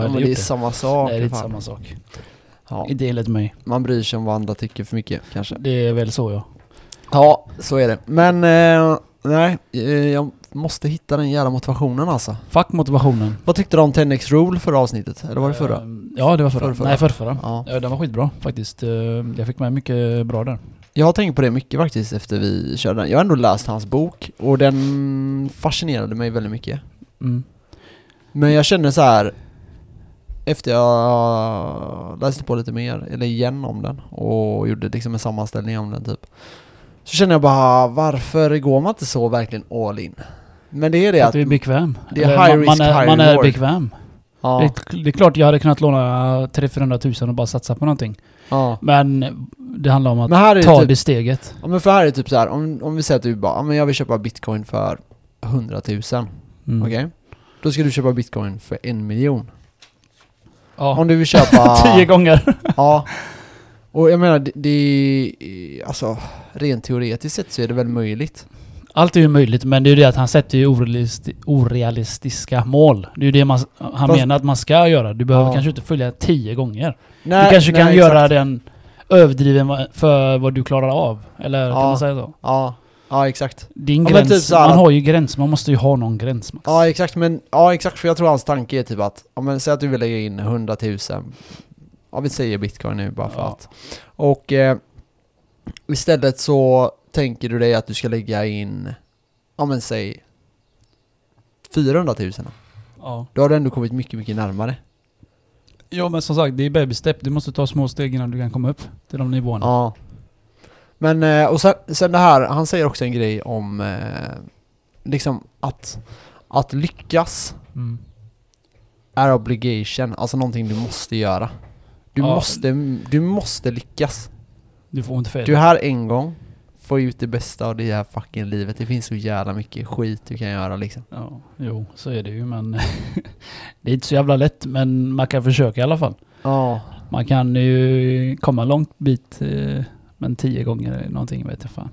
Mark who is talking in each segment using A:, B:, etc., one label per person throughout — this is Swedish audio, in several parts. A: Ja,
B: men
A: men
B: gjort
A: det är samma sak.
B: Nej, det är inte
A: fan.
B: samma sak.
A: Ja.
B: Inte enligt mig.
A: Man bryr sig om vad andra tycker för mycket kanske.
B: Det är väl så ja.
A: Ja, så är det. Men eh, nej, eh, jag måste hitta den jävla motivationen alltså.
B: Fuck motivationen.
A: Vad tyckte du om 10x Rule förra avsnittet? Eller var det förra?
B: Ehm, Ja, det var förra.
A: Förrförra.
B: Nej, förrförra.
A: Ja.
B: Ja, den var skitbra faktiskt. Ehm, Jag fick med mycket bra där.
A: Jag har tänkt på det mycket faktiskt efter vi körde den. Jag har ändå läst hans bok och den fascinerade mig väldigt mycket.
B: Mm.
A: Men jag känner så här efter jag läste på lite mer, eller igen om den och gjorde liksom en sammanställning om den typ. Så känner jag bara, varför går man inte så verkligen all in? Men det är det
B: För
A: att...
B: att du är bekväm.
A: det är
B: Eller
A: high
B: man, man
A: risk,
B: är,
A: high
B: man är
A: reward.
B: bekväm. Det,
A: ja,
B: är- det är klart jag hade kunnat låna 300-400 tusen och bara satsa på någonting.
A: ja.
B: Men det handlar om att
A: Men här är det
B: ta
A: typ,
B: det steget.
A: ja, men för här är det typ så här, om, om vi säger att du bara, ja, men jag vill köpa bitcoin för 100 000,
B: Mm.
A: okej? Då ska du köpa bitcoin för en miljon.
B: Ja.
A: Om du vill köpa...
B: Tio gånger.
A: Ja. Och jag menar, det, det... Alltså, rent teoretiskt sett så är det väl möjligt.
B: Allt är ju möjligt men det är ju det att han sätter ju orealisti orealistiska mål. Det är ju det man, han
A: Fast-
B: menar att man ska göra. Du behöver
A: Ja.
B: kanske inte följa tio gånger.
A: Nej,
B: du kanske
A: nej,
B: kan
A: exakt.
B: göra den överdriven va- för vad du klarar av. Eller
A: Ja.
B: kan man säga så?
A: Ja, ja exakt.
B: Din
A: Ja, men
B: gräns.
A: typ så här
B: man
A: att-
B: har ju gräns. Man måste ju ha någon gräns Max.
A: Ja exakt, men ja exakt för jag tror hans tanke är typ att, om man säger att du vill lägga in 100 000, ja vi säger bitcoin nu bara för
B: Ja.
A: att. Och eh, istället så tänker du dig att du ska lägga in, ja men säg 400 000.
B: Ja.
A: Då har du ändå kommit mycket, mycket närmare.
B: Ja men som sagt, det är baby step. Du måste ta små steg innan du kan komma upp till de nivåerna.
A: Ja. Men, eh, och sen, sen det här, han säger också en grej om, eh, liksom att, att lyckas
B: Mm.
A: är obligation, alltså någonting du måste göra. Du,
B: Ja.
A: måste, du måste lyckas.
B: Du får inte fel.
A: Du är här en gång, få ut det bästa av det här fucking livet. Det finns så jävla mycket skit du kan göra liksom.
B: Ja, jo, så är det ju men det är inte så jävla lätt men man kan försöka i alla fall.
A: Ja.
B: Man kan ju komma en lång bit eh, men tio gånger eller någonting vet jag fan.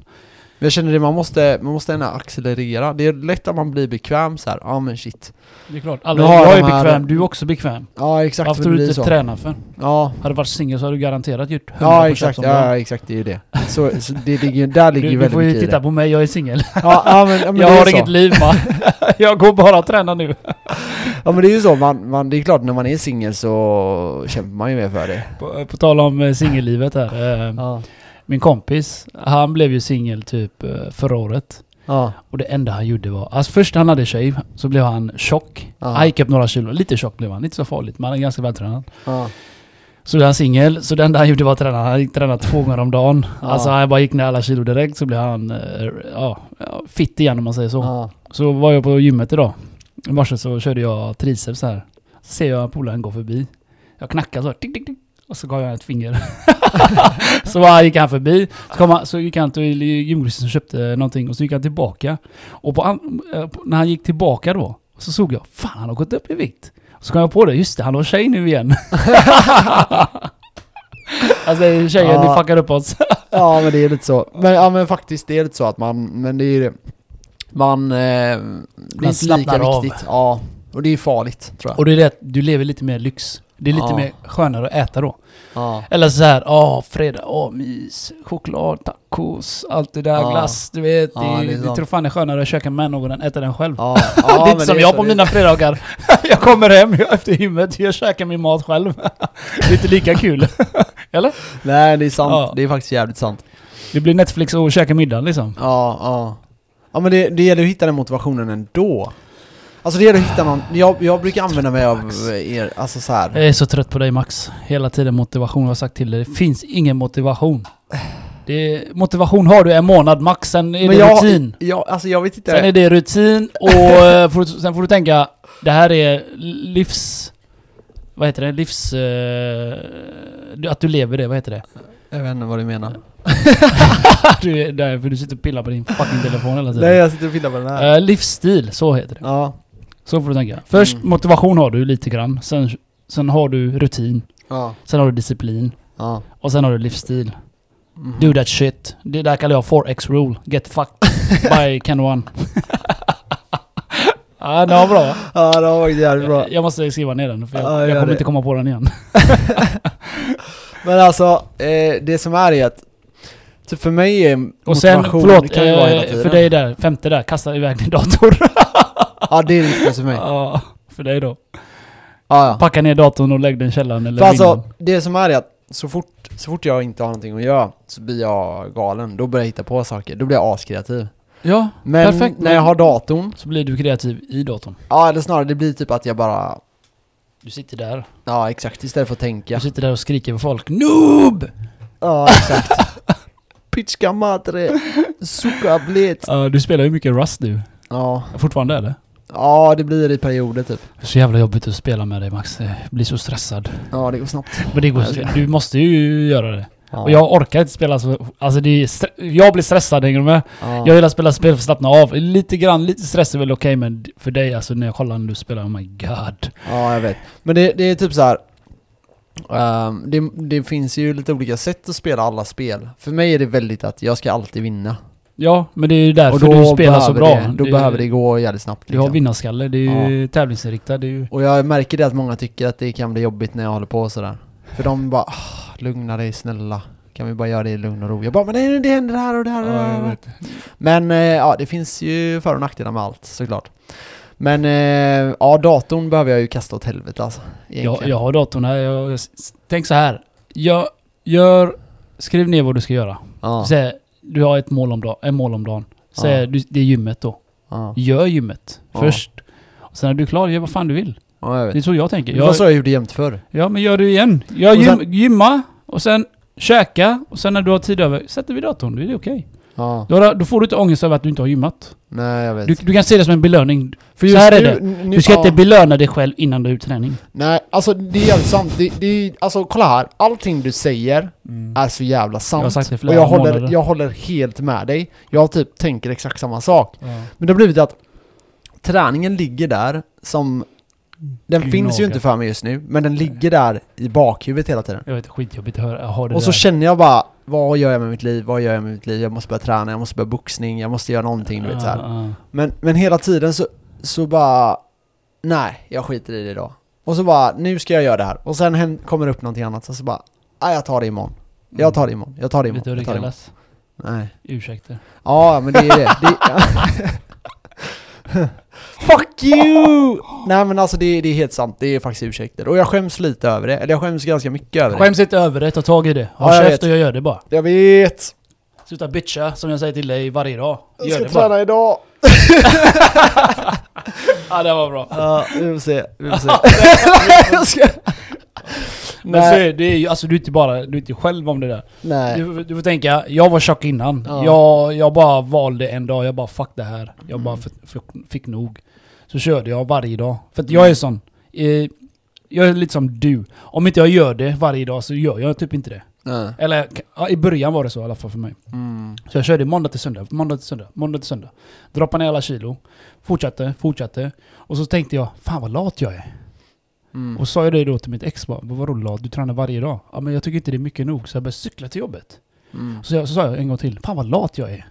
A: Men jag känner det, man måste, man måste ändå accelerera. Det är lätt att man blir bekväm så här. ja men shit.
B: Det är klart, alla,
A: Nu har
B: jag är
A: de här-
B: bekväm, du är också bekväm.
A: Ja exakt,
B: Varför
A: det
B: tror du
A: blir
B: inte
A: så.
B: tränar för?
A: Ja.
B: Hade du varit singel så hade du garanterat gjort 100
A: Ja
B: push-ups
A: exakt,
B: om
A: ja,
B: dagen.
A: ja exakt det är ju det. Så, så det ligger, ju- där ligger
B: Du,
A: ju
B: du
A: väldigt
B: får
A: mycket
B: ju
A: i
B: titta
A: det.
B: på mig, jag är singel.
A: Ja, ja, men, ja, men
B: Jag
A: det är
B: har
A: så.
B: inget liv va? jag går bara och tränar nu.
A: Ja men det är ju så, man, man, det är klart när man är singel så kämpar man ju mer för det.
B: På, på tal om eh, singellivet här. eh,
A: Ja.
B: Min kompis, han blev ju singel typ eh, förra året.
A: Ja.
B: Och det enda han gjorde var... Alltså först han hade tjej, så blev han tjock.
A: Ja.
B: Han gick upp några kilo. Lite tjock blev han, inte så farligt. Men han är ganska vältränad.
A: ja.
B: Så blev han singel, så det enda han gjorde var att träna. Han gick träna två gånger om dagen.
A: Ja.
B: Alltså han bara gick ner alla kilo direkt så blev han eh, ja, ja, fitt igen om man säger så.
A: Ja.
B: Så var jag på gymmet idag. I morse så körde jag triceps här. Så ser jag polaren gå förbi. Jag knackar så. Tick, tick, tick. Och så gav jag ett finger. så bara gick han förbi. Så, kom han, så gick han till gymgrossisten och köpte någonting. Och så gick han tillbaka. Och på, an- eh, på- när han gick tillbaka då. Så såg jag. Fan han har gått upp i vikt. Så kom jag på det. Just det, han har tjej nu igen. alltså tjejen,
A: Ja.
B: ni fuckar upp oss.
A: Ja men det är lite så. Men, ja men faktiskt det är lite så att man, men det är ju det. Man, eh, det är inte lika
B: slappnar av.
A: viktigt. Ja. Och det är farligt tror jag.
B: och det är det att du lever lite mer lyx. Det är lite
A: Ja.
B: mer skönare att äta då.
A: ja.
B: Eller så här, åh fredag, åh mys, choklad, tacos, allt det där,
A: Ja.
B: glass, du vet.
A: Ja,
B: det, är-
A: det är
B: det
A: sant.
B: tror fan är skönare att käka med någon än äta den själv.
A: Ja,
B: det
A: ja,
B: är
A: men
B: inte som
A: är
B: jag
A: så,
B: på
A: det är
B: mina fredagar. jag kommer hem efter gymmet, jag käkar min mat själv. det är inte lika kul.
A: så. Nej det är sant,
B: Ja.
A: det är faktiskt jävligt sant.
B: Det blir Netflix och käka middag liksom.
A: Ja, ja. Ja men det, det gäller att hitta den motivationen ändå. Alltså det gäller att hitta någon, jag, jag brukar använda mig av er, alltså så här.
B: Jag är så trött på dig Max. Hela tiden motivation, jag har sagt till dig. Det finns ingen motivation. Det är, motivation har du en månad max, sen är det
A: jag,
B: rutin.
A: Jag, alltså jag vet inte.
B: Sen är det rutin och eh, får, du- sen får du tänka, det här är livs... Vad heter det? Livs... eh, du- att du lever det, vad heter det?
A: Jag vet inte vad du menar.
B: du, är där, för du sitter och pillar på din fucking telefon hela tiden.
A: Nej jag sitter och pillar på den här.
B: Eh, livsstil, så heter det.
A: Ja.
B: Så får du tänka. Först
A: Mm.
B: motivation har du lite grann, sen, sen har du rutin,
A: Ja.
B: sen har du disciplin
A: Ja.
B: och sen har du livsstil.
A: Mhm.
B: Do that shit. Det där kallar jag 4x rule. Get fucked by Ken One. Ja, den var bra.
A: Ja, det var faktiskt jävligt bra.
B: Jag, jag måste skriva ner den för jag,
A: Ja,
B: jag
A: gör
B: kommer
A: det.
B: inte komma på den igen.
A: Men alltså, eh, det som är är att Typ för mig är
B: Och sen,
A: motivation, det
B: förlåt,
A: kan ju vara hela
B: eh,
A: tiden.
B: för dig där, femte där, kasta iväg din dator.
A: Ja, det är det viktigaste för mig. Ja,
B: Ja, för dig då.
A: ja.
B: Packa ner datorn och lägg den i källaren eller
A: För alltså,
B: vinden.
A: det som är är att så fort, så fort jag inte har någonting att göra så blir jag galen. Då börjar jag hitta på saker. Då blir jag askreativ.
B: Ja,
A: Men
B: Perfekt,
A: när jag
B: men-
A: har datorn,
B: så blir du kreativ i datorn.
A: ja eller snarare det blir typ att jag bara,
B: Du sitter där.
A: ja exakt, istället för att tänka.
B: Du sitter där och skriker på folk. Noob!
A: Ja exakt. Pitchka madre, suka blit.
B: Ja, du spelar ju mycket Rust nu.
A: Ja.
B: Fortfarande eller?
A: ja, det blir i perioder typ.
B: Så jävla jobbigt att spela med dig Max. Jag blir så stressad.
A: Ja, det går snabbt.
B: Men det går,
A: Ja, det-
B: du måste ju göra det.
A: Ja.
B: Och jag orkar inte spela så... Alltså det är stre- Jag blir stressad, hänger du med?
A: ja.
B: Jag gillar att spela spel för att slappna av. Lite grann, lite stress är väl okej men för dig alltså när jag kollar när du spelar, oh my god.
A: Ja, jag vet. Men det, det är typ så här. ehm, det, det finns ju lite olika sätt att spela alla spel. För mig är det väldigt att jag ska alltid vinna.
B: Ja, men det är ju därför
A: och då
B: du spelar så bra.
A: behöver Det, då
B: Du-
A: behöver det gå jävligt snabbt.
B: Du har
A: Liksom.
B: vinnarskalle, det är ju tävlingsinriktad. Det är ju...
A: och jag märker det att många tycker att det kan bli jobbigt när jag håller på sådär. För de bara ah, “lugna dig snälla”. Kan vi bara göra det i lugn och ro? Jag bara “men nej, det händer det här och det här och det här”. Men eh, ja, det finns ju för och nackdelar med allt såklart. Men eh, ja, datorn behöver jag ju kasta åt helvete alltså.
B: Jag,
A: Egentligen.
B: jag har datorn här. Jag, jag, tänk så här. Jag, gör, skriv ner vad du ska göra.
A: ja,
B: Säg, du har ett mål om dagen. En mål om dagen. Säg,
A: Ja.
B: du, det är gymmet då.
A: ja,
B: Gör gymmet
A: Ja.
B: först. Och sen när du är klar, gör vad fan du vill.
A: ja, jag vet.
B: Det är så jag tänker.
A: Det var
B: Jag,
A: så jag gjorde jämt förr.
B: ja, men gör det igen. Gör
A: Och
B: gym, gymma och sen käka och sen när du har tid över, sätter vi datorn. Det är okej.
A: Ja,
B: Då, har- då får du inte ångest över att du inte har gymmat.
A: nej jag vet.
B: Du, du kan se det som en belöning.
A: För
B: så här är
A: nu-
B: det.
A: n- nu-
B: Du ska
A: ja.
B: inte belöna dig själv innan du har gjort träning.
A: Nej, alltså det är jävligt sant. Det, det är, alltså kolla här, allting du säger är så jävla sant.
B: Jag har sagt det i flera
A: Mm. och jag håller,
B: månader.
A: jag håller helt med dig. Jag typ tänker exakt samma sak. Men det har blivit att träningen ligger där som... Den
B: Gnager.
A: finns ju inte för mig just nu, men den ligger där i bakhuvudet hela tiden.
B: Jag vet, skitjobbigt att höra, jag har det
A: Och så
B: där.
A: känner jag bara, vad gör jag med mitt liv? Vad gör jag med mitt liv? Jag måste börja träna, jag måste börja boxning, jag måste göra någonting, du vet så här.
B: Ah, ah.
A: Men, men hela tiden så, så bara, nej, jag skiter i det idag. Och så bara, nu ska jag göra det här. Och sen hem, kommer det upp någonting annat, och så bara, nej jag tar det imorgon. Jag tar det imorgon, jag tar det
B: Vet du vad
A: imorgon.
B: det
A: Jag tar det imorgon.
B: kallas?
A: Nej.
B: Ursäkter.
A: Ja, men det är det. det Fuck you! Nej men alltså det, det är helt sant, det är faktiskt ursäkter. Och jag skäms lite över det, eller jag skäms ganska mycket över det.
B: Skäms inte över det, ta tag i det.
A: Ja,
B: Håll
A: jag
B: käft
A: vet.
B: och jag gör det bara.
A: Jag vet!
B: Sluta bitcha, som jag säger till dig varje dag.
A: Jag
B: Gör
A: ska
B: det bara.
A: träna idag!
B: Ja, det var bra.
A: Ja, vi får se, vi får se. jag ska...
B: Men
A: Nej.
B: så är det, är ju, alltså du är inte bara, du är inte själv om det där.
A: Nej.
B: Du, du får tänka, jag var tjock innan.
A: Ja.
B: Jag, jag bara valde en dag, jag bara fuck det här. Jag
A: Mm.
B: bara f- f- fick nog. Så körde jag varje dag. För att
A: Mm.
B: jag är sån. Eh, jag är lite som du. Om inte jag gör det varje dag så gör jag typ inte det.
A: Nej.
B: Eller ja, i början var det så i alla fall för mig.
A: Mm.
B: Så jag körde måndag till söndag, måndag till söndag, måndag till söndag. Droppade ner alla kilo. Fortsatte, fortsatte. Och så tänkte jag, fan vad lat jag är.
A: Mm.
B: Och sa jag det då till mitt ex bara, "Vad- vadå lat? Du tränar varje dag? Ja men jag tycker inte det är mycket nog, så jag började cykla till jobbet.
A: Mm.
B: Så, jag, så sa jag en gång till, fan vad lat jag är.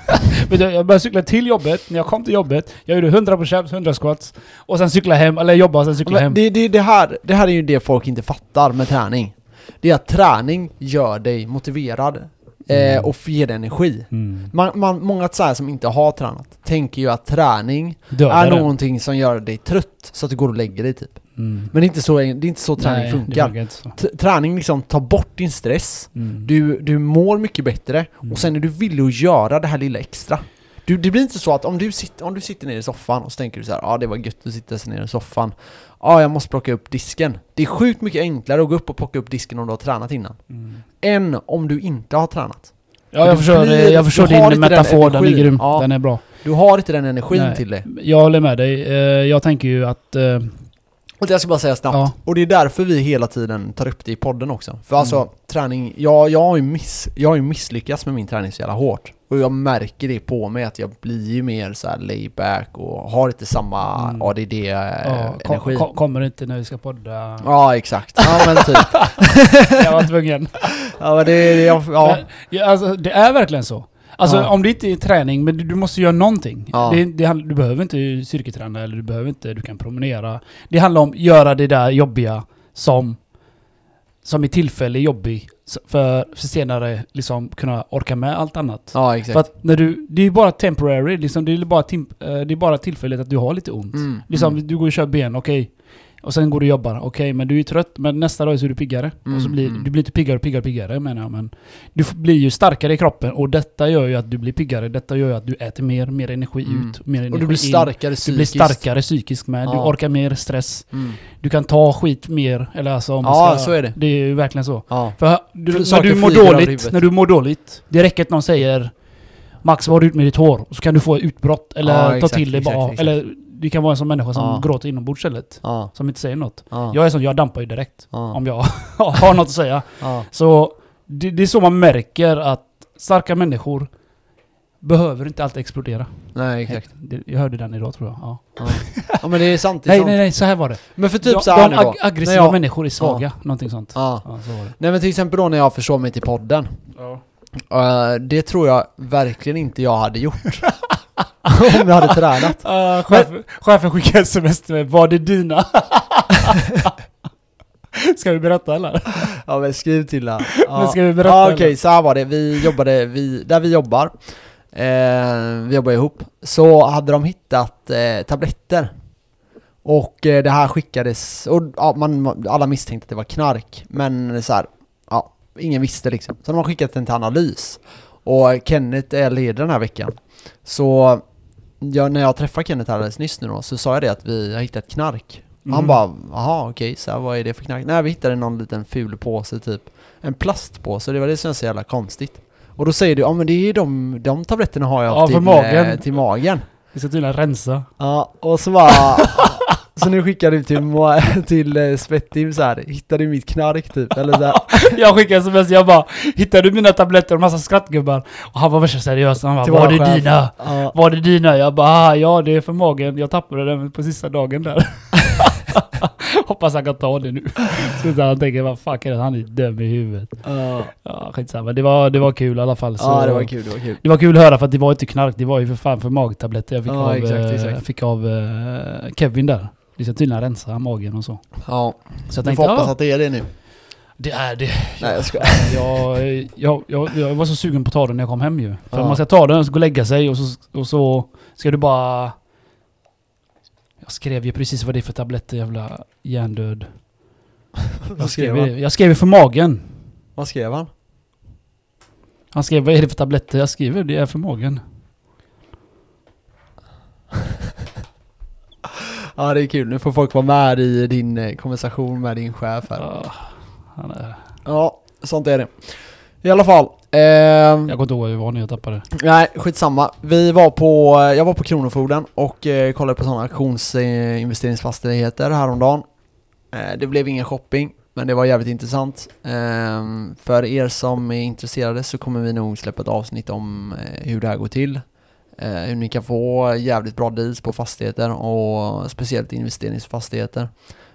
B: Vet du, jag började cykla till jobbet, när jag kom till jobbet, jag gjorde 100 pushups, 100 squats. Och sen cykla hem, eller jobba och sen cykla
A: Men
B: hem.
A: det, det, det, här, det här är ju det folk inte fattar med träning. Det är att träning gör dig motiverad eh, och ger dig energi.
B: Mm.
A: Man, man, många så här som inte har tränat tänker ju att träning
B: Dödar
A: är
B: den.
A: någonting som gör dig trött så att du går och lägger dig typ.
B: Mm.
A: Men det är inte så, det är inte så träning
B: Nej, Det
A: funkar.
B: funkar inte så.
A: T- Träning liksom tar bort din stress,
B: Mm.
A: du, du mår mycket bättre
B: Mm.
A: och sen är du villig att göra det här lilla extra. Du, det blir inte så att om du, sitter, om du sitter ner i soffan och så tänker du så här, ja ah, det var gött att sitta sig ner i soffan. Ja, ah, jag måste plocka upp disken. Det är sjukt mycket enklare att gå upp och plocka upp disken om du har tränat innan.
B: Mm.
A: Än om du inte har tränat.
B: Ja,
A: För
B: jag
A: du
B: förstår,
A: blir-
B: jag förstår
A: du har
B: din
A: inte den
B: metafor, den, är
A: energin.
B: grym.
A: Ja.
B: Den är bra.
A: Du har inte den energin
B: Nej.
A: till det.
B: Jag håller med dig. Eh, Jag tänker ju att... eh,
A: Och det ska jag bara säga snabbt.
B: Ja.
A: Och det är därför vi hela tiden tar upp det i podden också. För alltså
B: Mm.
A: träning, jag, jag, har ju miss, jag har ju misslyckats med min träning så jävla hårt. Och jag märker det på mig att jag blir ju mer så här layback och har inte samma
B: Mm. ja, kom-
A: ADD-energi.
B: kom- Kommer inte när vi ska podda.
A: eh, Ja exakt, ja men typ.
B: Jag var tvungen.
A: Ja men det, det jag, ja.
B: Men, ja, alltså, det är verkligen så. Alltså
A: Ja.
B: om det inte är träning, men du, du måste göra någonting.
A: Ja.
B: Det, det, handlar- du behöver inte styrketräna eller du behöver inte, du kan promenera. Det handlar om göra det där jobbiga som, som är tillfälligt jobbig. s- För, för senare liksom kunna orka med allt annat.
A: Ja, exakt.
B: För att när du, det är ju bara temporary, liksom, det, är bara tim, eh, det är bara tillfälligt att du har lite ont.
A: Mm,
B: Liksom,
A: mm.
B: Du går och kör ben, okej. Och sen går du och jobbar, okej. men du är ju trött, men nästa dag så är du piggare. och så
A: Mm,
B: blir,
A: mm.
B: Du blir inte piggare och piggare och piggare menar jag, men du f- blir ju starkare i kroppen och detta gör ju att du blir piggare. Detta gör ju att du äter mer, mer energi
A: Mm.
B: ut, mer energi
A: Och du blir
B: in.
A: starkare psykiskt.
B: Du blir starkare psykiskt med, du
A: Ja.
B: orkar mer stress.
A: Mm.
B: Du kan ta skit mer, eller alltså om man
A: Ja,
B: ska,
A: så är det.
B: Det är ju verkligen så.
A: Ja.
B: För du,
A: För
B: när,
A: saker
B: du mår
A: flyger av
B: dåligt,
A: huvudet.
B: när du mår dåligt, det räcker att någon säger Max, vad har du gjort med ditt hår? Och så kan du få ett utbrott eller
A: Ja,
B: ta
A: exakt,
B: till dig
A: exakt,
B: bara.
A: exakt.
B: Eller det kan vara en sån människa som
A: Ja.
B: gråter inombords istället.
A: Ja.
B: Som inte säger något.
A: Ja.
B: Jag är sån, jag dampar ju direkt.
A: Ja.
B: Om jag har något att säga.
A: Ja.
B: Så det, det är så man märker att starka människor behöver inte alltid explodera.
A: Nej, exakt.
B: Det- Jag hörde den idag tror jag. Ja.
A: Ja. ja, men det är sant. Det är
B: Nej,
A: sant.
B: nej, nej, så här var det.
A: Men för typ
B: de
A: så här
B: de
A: nu då.
B: ag- aggressiva
A: När jag-
B: människor är svaga. Någonting sånt.
A: Ja.
B: Ja, så var det.
A: Nej men till exempel då när jag försov mig till podden. Eh, det tror jag verkligen inte jag hade gjort. Om jag hade tränat.
B: Uh, chef, Chefen skickade sms till mig, var det dina? ska vi berätta eller?
A: Ja men skriv till henne.
B: Men
A: Ja.
B: ska vi berätta
A: Ja
B: eller?
A: okej, så här var det. Vi jobbade, vi, där vi jobbar, eh, vi jobbar ihop, så hade de hittat eh, tabletter. Och eh, det här skickades, och ja, man, alla misstänkte att det var knark, men så här, ja, ingen visste liksom. Så de har skickat den till analys. Och Kenneth är ledig den här veckan. Så ja, när jag träffade Kenneth här alldeles nyss nu då, så sa jag det att vi har hittat knark. Och Han
B: Mm.
A: bara, jaha okej, så här, vad är det för knark? Nej vi hittade någon liten ful påse typ. En plastpåse, det var det som var så jävla konstigt. Och då säger du, ja men det är ju de, de tabletterna har jag
B: Ja,
A: till,
B: för magen.
A: eh, till magen.
B: Vi ska tydligen rensa.
A: Ja, och så bara... Så nu skickar du till, ma- till eh, Svettim så här, hittar du mitt knark typ? Eller så här.
B: Jag skickade sms, jag bara Hittar du mina tabletter och massa skrattgubbar? Och han var värsta seriös, han bara
A: Till
B: Var
A: våra
B: det
A: chef.
B: dina?
A: Ja,
B: Var det dina? Jag bara "Ah, ja det är för magen, jag tappade den på sista dagen där Hoppas han kan ta det nu Så så han tänker vad fuck är det, han är döm i huvudet
A: ja.
B: Ja skitsamma, det var, det var kul i alla fall så
A: ja, det var kul, det var kul.
B: Det var kul att höra för att det var inte knark, det var ju för fan för magtabletter jag fick
A: Ja,
B: av,
A: exakt,
B: eh,
A: exakt.
B: jag fick av eh, Kevin där. Det ska tydligen rensa magen och så.
A: Ja,
B: Så jag
A: vi
B: tänkte,
A: får hoppas
B: ja,
A: att det är det nu.
B: det är det.
A: Nej jag skojar.
B: Jag, jag, jag, jag var så sugen på att ta den när jag kom hem ju. För
A: Ja.
B: man ska ta den och så gå och lägga sig och så, och så ska du bara... Jag skrev ju precis vad det är för tabletter, jävla hjärndöd.
A: Vad
B: Jag skrev,
A: skrev han?
B: ju- jag skrev ju för magen.
A: Vad skrev han?
B: Han skrev, vad är det för tabletter? Jag skriver, det är för magen.
A: Ja det är kul, nu får folk vara med i din eh, konversation med din chef här.
B: Ah, han är-
A: Ja, sånt är det. I alla fall. ehm,
B: Jag kommer inte ihåg var vi var när jag tappade.
A: Nej, skitsamma. Vi var på, jag var på Kronofogden och eh, kollade på sådana auktionsinvesteringsfastigheter häromdagen. Eh, det blev ingen shopping, men det var jävligt intressant. Ehm, för er som är intresserade så kommer vi nog släppa ett avsnitt om eh, hur det här går till. Eh, hur ni kan få jävligt bra deals på fastigheter och speciellt investeringsfastigheter.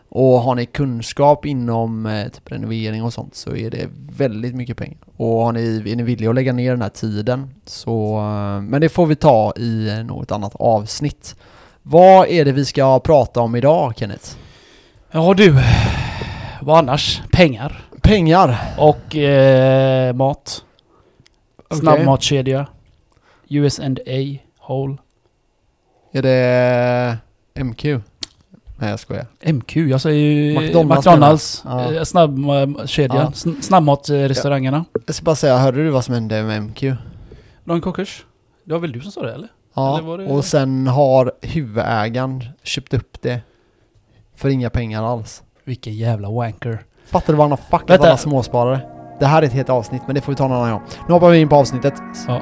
A: Och har ni kunskap inom eh, typ renovering och sånt så är det väldigt mycket pengar. Och har ni, är ni villiga att lägga ner den här tiden så... eh, Men det får vi ta i eh, något annat avsnitt. Vad är det vi ska prata om idag Kenneth?
B: Ja du, vad annars? Pengar
A: Pengar!
B: och eh, mat.
A: Okej.
B: Snabbmatskedja. US and A, Hole.
A: Är det MQ? Nej jag skojar.
B: MQ, jag säger ju
A: McDonald's
B: McDonalds.
A: menar jag.
B: eh, Snabbkedjan.
A: Ja.
B: Sn- Snabbmatsrestaurangerna.
A: Jag ska bara säga, hörde du vad som hände med MQ?
B: De är i konkurs. Det var väl du som sa det eller?
A: Ja,
B: Eller var det-
A: och sen har huvudägaren köpt upp det för inga pengar alls.
B: Vilken jävla wanker.
A: Fattar du vad han har fuckat
B: Vänta.
A: alla småsparare? Det här är ett helt avsnitt, men det får vi ta någon annan gång. Nu hoppar vi in på avsnittet.
B: Ja.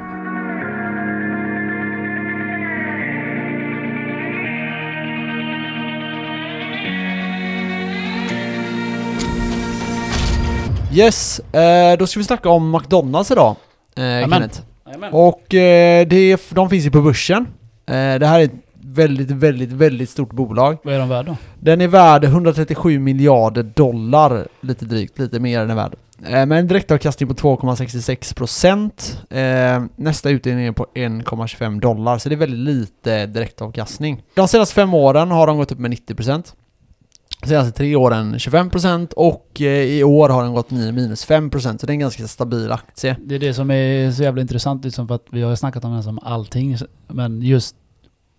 A: Yes, eh, då ska vi snacka om McDonalds idag, eh,
B: Amen.
A: Kenneth.
B: Jajamän.
A: Och eh, det, de finns ju på börsen. Eh, det här är ett väldigt, väldigt, väldigt stort bolag.
B: Vad är de värda då?
A: Den är värd 137 miljarder dollar, lite drygt, lite mer än den är värd. Eh, Med en direktavkastning på 2,66% eh, Nästa utdelning är på 1,25 dollar så det är väldigt lite direktavkastning. De senaste fem åren har de gått upp med 90% de senaste tre åren 25% och eh, i år har den gått ner minus 5% så det är en ganska stabil aktie.
B: Det är det som är så jävla intressant liksom för att vi har ju snackat om den som allting. Men just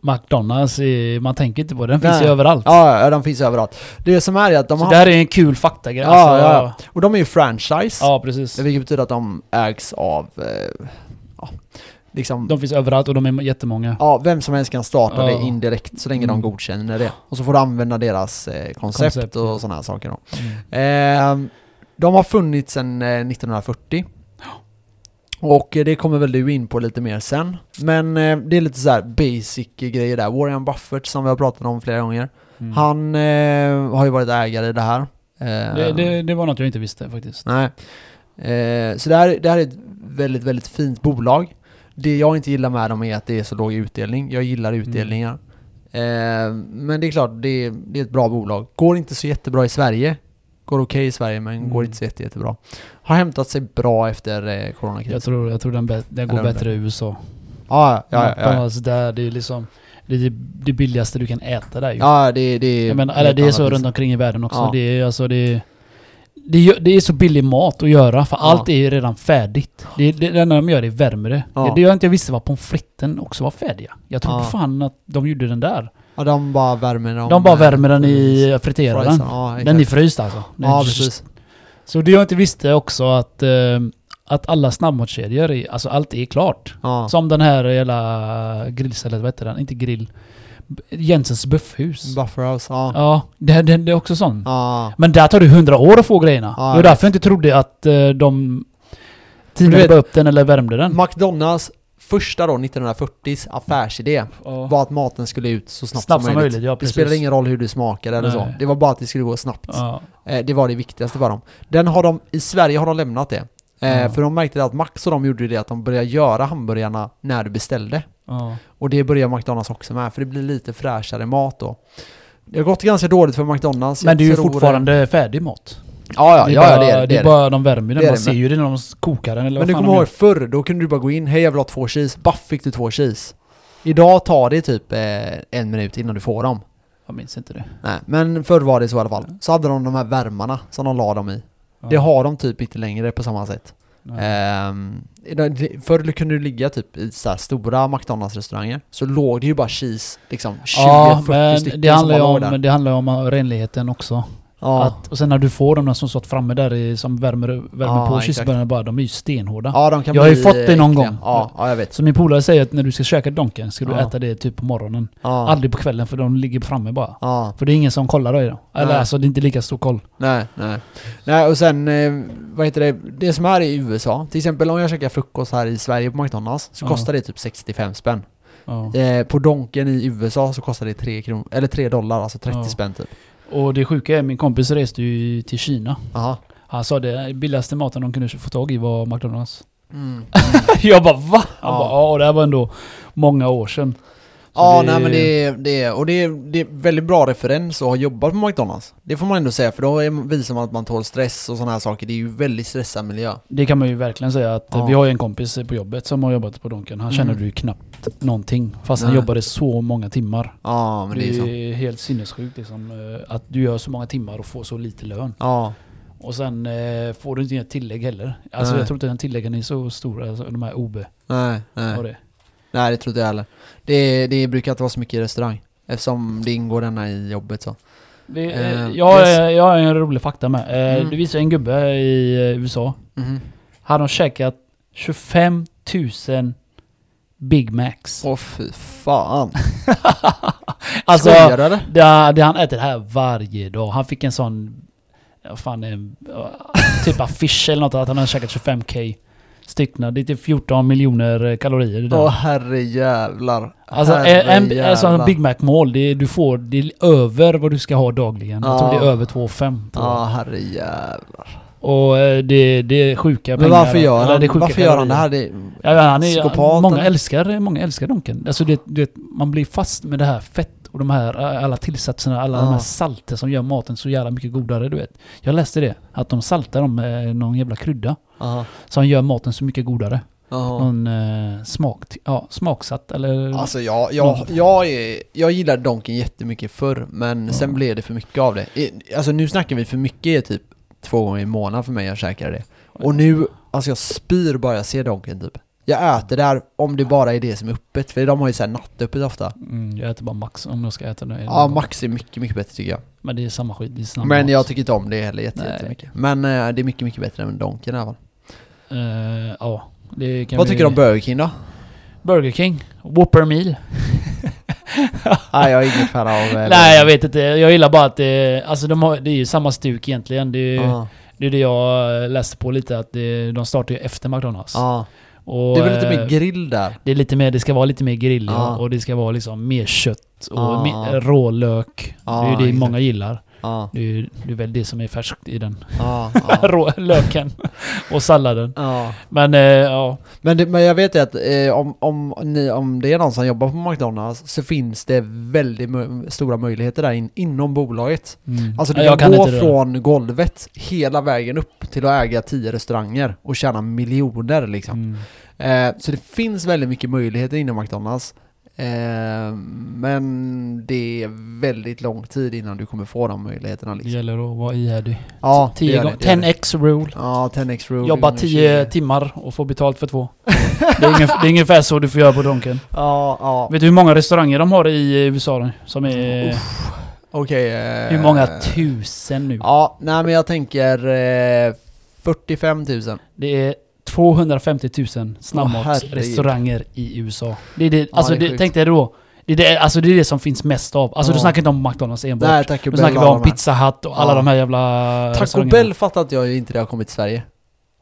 B: McDonalds, är, man tänker inte på det. Den finns
A: Nej.
B: ju överallt.
A: Ja, ja, de finns överallt. Det som är är att de
B: så
A: har...
B: det här är en kul faktagrej. alltså.
A: Ja, ja. Och de är ju franchise.
B: ja, precis.
A: Vilket betyder att de ägs av... Eh, ja, liksom...
B: De finns överallt och de är jättemånga.
A: Ja, vem som helst kan starta
B: Ja.
A: det indirekt så länge de
B: Mm.
A: godkänner det. Och så får du använda deras eh, koncept,
B: Koncept, ja.
A: och sådana här saker. Då.
B: Mm.
A: Ehm, de har funnits sedan eh, 1940. Och eh, det kommer väl du in på lite mer sen. Men eh, det är lite så här basic grejer där. Warren Buffett som vi har pratat om flera gånger.
B: Mm.
A: Han eh, har ju varit ägare i det här. Ehm,
B: Det, det, det var något jag inte visste faktiskt.
A: Nej. Eh, så det här, det här är ett väldigt, väldigt fint bolag. Det jag inte gillar med dem är att det är så låg utdelning. Jag gillar
B: Mm.
A: utdelningar. Eh, men det är klart, det, det är ett bra bolag. Går inte så jättebra i Sverige. Går okej i Sverige men
B: Mm.
A: går inte så jätte, jättebra. Har hämtat sig bra efter eh, coronakrisen.
B: Jag tror, jag tror den, bä- den går
A: Eller-
B: bättre i USA.
A: Ja, ja, ja. ja, ja.
B: McDonalds där, det är liksom det, är det billigaste du kan äta där ju.
A: ja det, det är...
B: Jag menar, eller det är
A: helt
B: så
A: annat.
B: runt omkring i världen också.
A: Ja.
B: Det, är, alltså, det, är, det, är, det är så billig mat att göra för
A: Ja.
B: allt är ju redan färdigt. Det, det, det enda de gör är värmer det.
A: Ja.
B: Det jag inte visste var pommes fritesen också var färdiga. Jag trodde
A: Ja.
B: fan att de gjorde den där.
A: Ja, de bara värmer den.
B: de bara värmer den i friterar den.
A: Ja,
B: Den är
A: exakt.
B: fryst alltså. Den
A: ja,
B: är-
A: precis.
B: Så det jag inte visste också att, eh, att alla snabbmatskedjor, är- alltså allt är klart.
A: Ja.
B: Som den här jävla grillstället, vad heter den? Inte grill. B- Jensens buffhus.
A: Bufferhouse, ja.
B: Ja, det, det, det är också sånt.
A: Ja.
B: Men där tar det hundra år att få grejerna.
A: Ja,
B: det var
A: jag
B: därför jag inte trodde att eh, de
A: Men du
B: tinade
A: vet-
B: bara upp den eller värmde den.
A: McDonalds första då, 1940s affärsidé var att maten skulle ut så snabbt, som, möjligt.
B: ja,
A: det
B: precis.
A: spelade ingen roll hur du smakade eller så.
B: Nej.
A: Det var bara att det skulle gå snabbt.
B: Ja,
A: Eh, det var det viktigaste för dem. Den har de, I Sverige har de lämnat det. Eh,
B: Ja.
A: För de märkte att Max och de gjorde det att de började göra hamburgarna när du beställde.
B: ja.
A: Och det börjar McDonalds också med, för det blir lite fräschare mat då. Det har gått ganska dåligt för McDonalds.
B: Men det är ju
A: Jag tror-
B: fortfarande färdig mat.
A: Ja, ja,
B: är
A: ja, ja,
B: bara-
A: det är det. det, är det.
B: bara de värmer den.
A: Det är
B: Man
A: det,
B: ser
A: men-
B: ju det när de kokar den eller
A: Men du
B: vad fan de
A: kommer ihåg förr, då kunde du bara gå in, hej jag vill ha två cheese, baff fick du två cheese. Idag tar det typ eh, en minut innan du får dem.
B: gör. Jag minns inte det.
A: Nej, men förr var det så i alla fall. Så hade de de här värmarna som de la dem i.
B: Ja.
A: Det har de typ inte längre på samma sätt.
B: Nej.
A: Ehm, idag- förr kunde du ligga typ i så här stora McDonalds-restauranger, så låg det ju bara cheese, liksom 20-40
B: Ja, men
A: stycken
B: det handlar, ju
A: som bara låg där.
B: om, det handlar ju om eh, renligheten också.
A: Ja.
B: Att, och sen när du får de där som stått framme där i, som värmer, värmer
A: Ja,
B: på
A: exakt.
B: kyssbörjarna bara, de är ju stenhårda.
A: ja, de kan
B: Jag har ju
A: bli eh,
B: fått det någon
A: äckliga.
B: gång.
A: Ja, ja, jag vet.
B: Så min polare säger att när du ska käka Donken ska du
A: Ja.
B: äta det typ på morgonen.
A: Ja,
B: Aldrig på kvällen för de ligger framme bara.
A: ja.
B: För det är ingen som kollar då i dem. Eller
A: Nej.
B: alltså det är inte lika stor koll.
A: Nej, nej. Nej, och sen, eh, vad heter det, det som är i USA, till exempel om jag käkar frukost här i Sverige på McDonalds så
B: Ja.
A: kostar det typ 65 spänn.
B: Ja.
A: Eh, på Donken i USA så kostar det 3 kronor, eller 3 dollar, alltså 30
B: Ja.
A: spänn typ.
B: Och det sjuka är, min kompis reste ju till Kina.
A: Aha.
B: Han sa det billigaste maten de kunde få tag i var McDonalds.
A: Mm.
B: Jag bara va? Han
A: Ja.
B: bara ja, och det här var ändå många år sedan. Så
A: Ja, nej men det är, det är, och det är, det är väldigt bra referens att ha jobbat på McDonalds. Det får man ändå säga, för då är- visar man att man tål stress och sådana här saker. Det är ju väldigt stressad miljö.
B: Det kan man ju verkligen säga att eh,
A: Ja.
B: vi har ju en kompis på jobbet som har jobbat på Donken. Han
A: Mm.
B: känner du ju knappt någonting. Fast han
A: Nej.
B: jobbade så många timmar.
A: Ja, men
B: det,
A: det är
B: är
A: så.
B: helt sinnessjukt liksom, eh, att du gör så många timmar och får så lite lön.
A: Ja,
B: Och sen eh, får du inte några tillägg heller. Alltså
A: Nej.
B: jag tror inte den tilläggen är så stora, alltså, de här OB.
A: nej, nej.
B: och Det.
A: Nej, det tror inte jag heller. Det, det brukar inte vara så mycket i restaurang. Eftersom det ingår denna i jobbet så.
B: Det,
A: Eh,
B: eh, jag,
A: yes.
B: eh, jag har en rolig fakta med. Eh,
A: Mm.
B: Det visar en gubbe i eh, USA.
A: Mhm.
B: Han har käkat 25 000 Big Macs.
A: Åh fy fan.
B: alltså,
A: Skojar du eller?
B: det, har- det han äter här varje dag. Han fick en sån... Vad fan är en, Typ affisch eller något, att han har käkat 25k styckna. Det är typ 14 miljoner eh, kalorier. det där.
A: Åh herrejävlar.
B: Alltså en, en, alltså en Big Mac-mål, det, är- du får, det är över vad du ska ha dagligen. Jag tror
A: Ja.
B: det är över 2,5 tror jag.
A: Ja herrejävlar.
B: Och eh, det, det är sjuka
A: Men varför gör
B: Ja,
A: han,
B: det? är sjuka
A: varför gör han det
B: kalorier.
A: här? Det,
B: Ja, han är,
A: Psykopat,
B: många,
A: eller?
B: älskar, många älskar Donken. Alltså det, du vet, man blir fast med det här fett Och de här, eh, alla tillsatserna, alla de
A: Ja.
B: här salter som gör maten så jävla mycket godare, du vet. Jag läste det, att de saltar dem med någon jävla krydda
A: Aha.
B: som gör maten så mycket godare.
A: Aha.
B: Någon eh, smak, ja, smaksatt eller...
A: Alltså jag, jag, jag, är, jag gillade Donken jättemycket förr, men sen blev det för mycket av det. I- Alltså nu snackar vi för mycket är typ två gånger i månaden för mig jag käkar det. Och nu, alltså jag spyr bara jag ser Donken typ. Jag äter där om det bara är det som är öppet, för de har ju såhär nattöppet ofta.
B: Mm, jag äter bara Max om jag ska äta det.
A: Ja, Max är mycket, mycket bättre tycker jag.
B: Men det är samma skit, det är snabb
A: Men
B: mat.
A: jag tycker inte om det heller jätte-
B: Nej.
A: jättemycket. Men eh, det är mycket, mycket bättre än Donken i alla fall.
B: Eh, ja, det kan
A: Vad
B: vi...
A: tycker du om Burger King då?
B: Burger King? Whopper meal?
A: Nej, jag är ingen fan av... eh,
B: Nej, jag vet inte. Jag gillar bara att det... Alltså de har, det är ju samma stuk egentligen. Det är,
A: Ja,
B: det, är det jag läste på lite, att det, de startar ju efter McDonalds.
A: ja.
B: Och,
A: Det är väl lite
B: eh,
A: mer grill där?
B: det är lite mer, det ska vara lite mer grill ja.
A: Ja.
B: och det ska vara liksom mer kött och
A: Ja.
B: mer eh, rålök.
A: Ja,
B: det är ju det
A: exakt.
B: många gillar.
A: Ja,
B: Det är, ju- det är väl det som är färskt i den.
A: ja, ja.
B: Rå, löken och salladen.
A: ja.
B: Men eh, ja,
A: Men, det, men jag vet ju att eh, om, om, ni, om det är någon som jobbar på McDonalds så finns det väldigt mö- stora möjligheter där in, inom bolaget.
B: mm.
A: Alltså du
B: Ja,
A: kan, gå
B: inte det där.
A: från golvet hela vägen upp till att äga tio restauranger och tjäna miljoner liksom.
B: Mm.
A: Eh, så det finns väldigt mycket möjligheter inom McDonalds. Eh, men det är väldigt lång tid innan du kommer få de möjligheterna
B: Det
A: liksom.
B: gäller att vara ihärdig.
A: Ja, det
B: Tio
A: gör det,
B: gånger,
A: det gör det.
B: 10x rule.
A: Ja, 10x rule.
B: Jobba
A: gånger 20.
B: 10 timmar och få betalt för två. Det är, ungefär, det är ungefär så du får göra på Donken.
A: Ja, ja.
B: Vet du hur många restauranger de har i USA nu? Som är...
A: Okej. eh,
B: hur många tusen nu?
A: Ja, nej men jag tänker eh, 45 000.
B: Det är 250 000
A: Åh,
B: snabbmatsrestauranger i USA. Det är det,
A: Ja,
B: alltså
A: det är
B: det,
A: sjukt.
B: tänk dig då. Det är det, alltså det är det som finns mest av. Alltså du
A: Ja.
B: snackar inte om McDonalds enbart.
A: Nej, Taco
B: du
A: Bell.
B: snackar
A: alla
B: bara om
A: de här.
B: Pizza Hut och alla
A: Ja.
B: de här jävla
A: Taco
B: restaurangerna.
A: Bell fattar inte jag ju inte det har kommit till Sverige.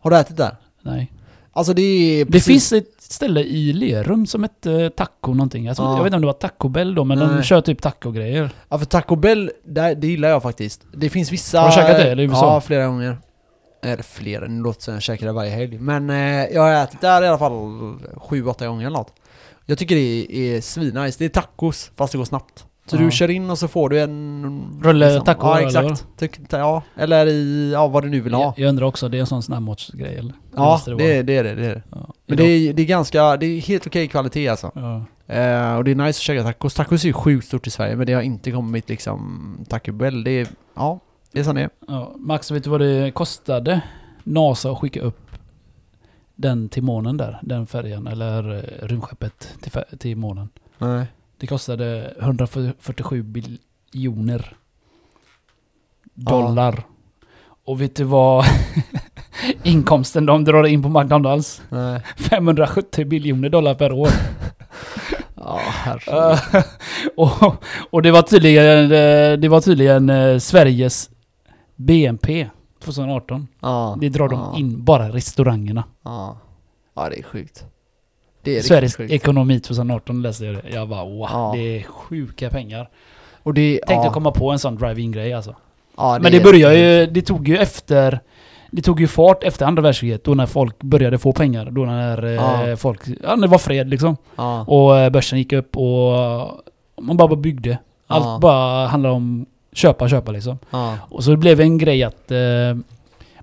A: Har du ätit där?
B: Nej.
A: Alltså det är
B: Det finns ett ställe i Lerum som hette eh, Taco någonting. Alltså,
A: Ja.
B: Jag vet inte om det var Taco Bell då, men de
A: Nej.
B: kör typ taco-grejer.
A: Ja för Taco Bell, där, det gillar jag faktiskt. Det finns vissa...
B: Har du käkat det, eller i USA?
A: Ja, flera gånger. Eller flera, nu låter det som jag käkar det varje helg. Men eh, jag har ätit där i alla fall 7-8 gånger eller något. Jag tycker det är, är svinnice. Det är tacos, fast det går snabbt. Så
B: Ja.
A: du kör in och så får du en... liksom.
B: Rulle taco,
A: Ja,
B: eller?
A: exakt. Tyck, ja, eller i, ja vad du nu vill ha.
B: Jag, jag undrar också, det är en sån snabbmatsgrej eller?
A: Ja,
B: måste
A: det,
B: det
A: är- det är det. det, är det.
B: vara. Ja.
A: Men det är, det är ganska, det är helt okej kvalitet alltså.
B: Ja.
A: Eh, och det är nice att käka tacos. Tacos är ju sjukt stort i Sverige, men det har inte kommit liksom Taco Bell. Det är, ja, det är som det är.
B: Ja. Max, vet du vad det kostade NASA att skicka upp den till månen där? Den färjan, eller eh, rymdskeppet till, fär- till månen.
A: Nej.
B: Det kostade 147 biljoner dollar. Och vet du vad inkomsten de drar in på McDonalds?
A: Nej.
B: 570 biljoner dollar per år.
A: Ja, herregud.
B: Eh, och, och det var tydligen, eh, det var tydligen eh, Sveriges BNP 2018.
A: Ja,
B: Det drar
A: ja,
B: de in, bara restaurangerna.
A: Ja. ja, det är sjukt. Det är
B: Sveriges
A: Sveriges sjukt.
B: ekonomi 2018 läste jag det. Jag bara wow,
A: Ja.
B: det är sjuka pengar.
A: Och det,
B: Tänk
A: ja,
B: att komma på en sån drive-in grej alltså.
A: ja,
B: Men det
A: är-
B: börjar ju, det tog ju efter det tog ju fart efter andra världskriget, då när folk började få pengar. Då när eh,
A: Ja.
B: folk... Ja, när det var fred liksom.
A: Ja.
B: Och eh, börsen gick upp och man bara byggde. Allt
A: Ja.
B: bara handlar om köpa, köpa liksom.
A: ja.
B: Och så det blev en grej att eh,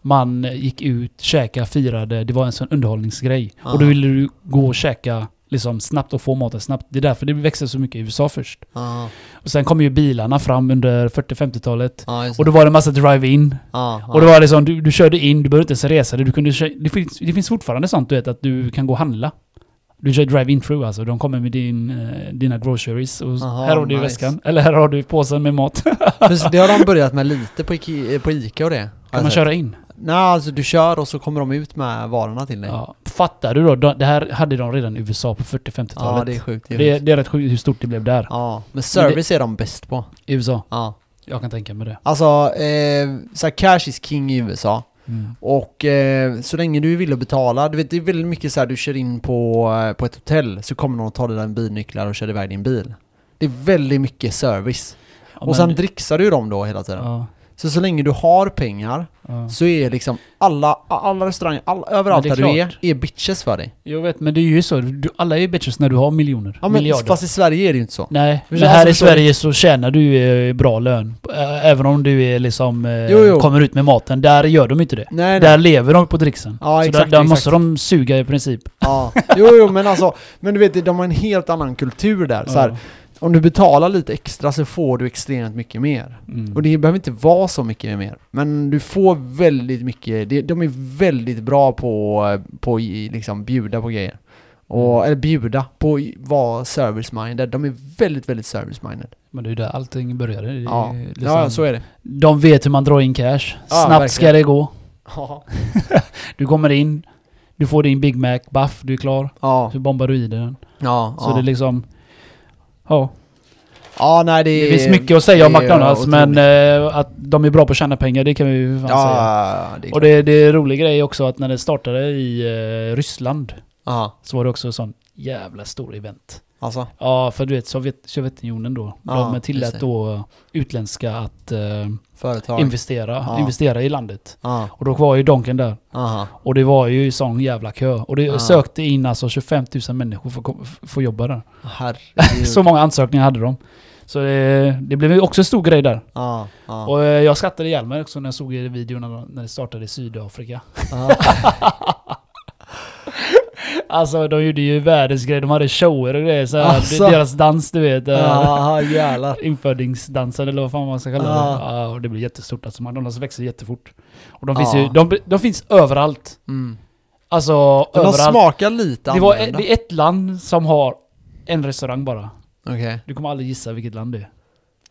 B: man gick ut, käka, firade. Det var en sån underhållningsgrej.
A: Ja.
B: Och då ville du gå och käka liksom snabbt och få maten snabbt. Det är därför det växte så mycket i USA först.
A: Ja,
B: Och sen kom ju bilarna fram under 40-50-talet.
A: ja, just
B: Och
A: det.
B: då var det massa drive-in.
A: Ja, ja.
B: Och det var liksom, du, du körde in, du behövde inte ens resa dig. Du kunde kö- det, finns, det finns fortfarande sånt du vet, att du kan gå och handla. Du kör drive-in through alltså. De kommer med din, eh, dina groceries och s-
A: Aha,
B: här har du
A: nice.
B: väskan. Eller här har du påsen med mat. kan
A: Precis, Det har de börjat med lite på, Ike- på Ica och det. Har jag
B: man
A: sett.
B: köra in?
A: Nej, alltså du kör och så kommer de ut med varorna till dig. Ja,
B: Ja. Fattar du då? De, det här hade de redan i USA på 40-50-talet.
A: det är sjukt. Det är
B: det, är,
A: sjukt.
B: det är rätt sjukt hur stort det blev där.
A: Ja, men service är de bäst på.
B: I USA.
A: Ja.
B: Jag kan tänka mig det.
A: Alltså, eh, så här, cash is king i USA. Och eh, så länge du är villig att betala, du vet det är väldigt mycket så här du kör in på, eh, på ett hotell så kommer någon och tar dina bilnycklar och kör iväg din bil. Det är väldigt mycket service.
B: Ja,
A: och
B: men-
A: sen dricksar du dem då hela tiden.
B: ja,
A: Så så länge du har pengar
B: Ja.
A: så är liksom alla, alla restauranger, alla, överallt
B: Men
A: där
B: det är
A: du
B: klart.
A: är, är bitches för dig.
B: Jag vet, men det är ju så. Du, alla är ju bitches när du har miljoner.
A: Ja, men,
B: miljarder.
A: fast i Sverige är det ju inte så.
B: Nej,
A: Men
B: men
A: alltså
B: här i
A: förstår
B: Sverige så tjänar du eh, bra lön. Eh, Även om du är liksom, eh,
A: Jo, jo.
B: kommer ut med maten. Där gör de inte det.
A: Nej, nej.
B: Där lever de på dricksen.
A: Ja,
B: så
A: exakt,
B: där, där måste
A: exakt.
B: de suga i princip.
A: Ja. Jo, jo, men alltså, men du vet, de har en helt annan kultur där. Så här,
B: Ja.
A: om du betalar lite extra så får du extremt mycket mer.
B: Mm.
A: Och det behöver inte vara så mycket mer. Men du får väldigt mycket, det- de är väldigt bra på på i- liksom bjuda på grejer. Och,
B: Mm.
A: Eller bjuda på i- vara service-minded. De är väldigt, väldigt service-minded.
B: Men det är ju där allting började. Det är
A: Ja.
B: liksom-
A: Ja, ja, så är det.
B: De vet hur man drar in cash. Snabbt ska
A: verkligen.
B: det gå.
A: Ja.
B: Du kommer in, du får din Big Mac, baff, du är klar.
A: Ja.
B: Så bombar du i dig den.
A: Ja,
B: Så
A: ja.
B: det är liksom... Ja,
A: ja nej det
B: det
A: är...
B: finns mycket att säga om
A: det är
B: McDonalds men
A: otroligt.
B: eh, att de är bra på att tjäna pengar det kan vi ju fan säga.
A: Ja, det är
B: Och
A: klart.
B: det, det är en rolig grej också att när det startade i eh, Ryssland
A: Ja,
B: så var det också en sån jävla stor event.
A: alltså.
B: Ja, för du vet Sovjet, Sovjetunionen då.
A: Ja,
B: de tillät
A: just det.
B: då utländska att eh,
A: Företag.
B: investera,
A: Ja.
B: investera i landet.
A: ja,
B: Och då var ju Donken där.
A: aha.
B: Och det var ju sån jävla kö. Och det
A: Ja.
B: sökte in alltså 25 000 människor för att kom- för att jobba där.
A: Mm. Herregud.
B: Så många ansökningar hade de. Så det, det blev ju också en stor grej där.
A: Ja, ja.
B: Och eh, jag skrattade ihjäl mig också när jag såg i videon när, när det startade i Sydafrika.
A: ja.
B: Alltså de gjorde ju världens grej. De hade shower och grejer. Så här,
A: Alltså.
B: Deras dans du vet. Ja.
A: Ja, jävlar.
B: Infödingsdansen eller vad fan man ska kalla det.
A: Ja.
B: Ja, och det blev jättestort alltså. McDonalds växer jättefort. Och de finns
A: Ja.
B: ju, de, de finns överallt.
A: Mm.
B: Alltså
A: Men de
B: överallt.
A: smakar lite
B: Det, var,
A: annorlunda.
B: det är ett land som har en restaurang bara.
A: Okej.
B: Du kommer aldrig gissa vilket land det är.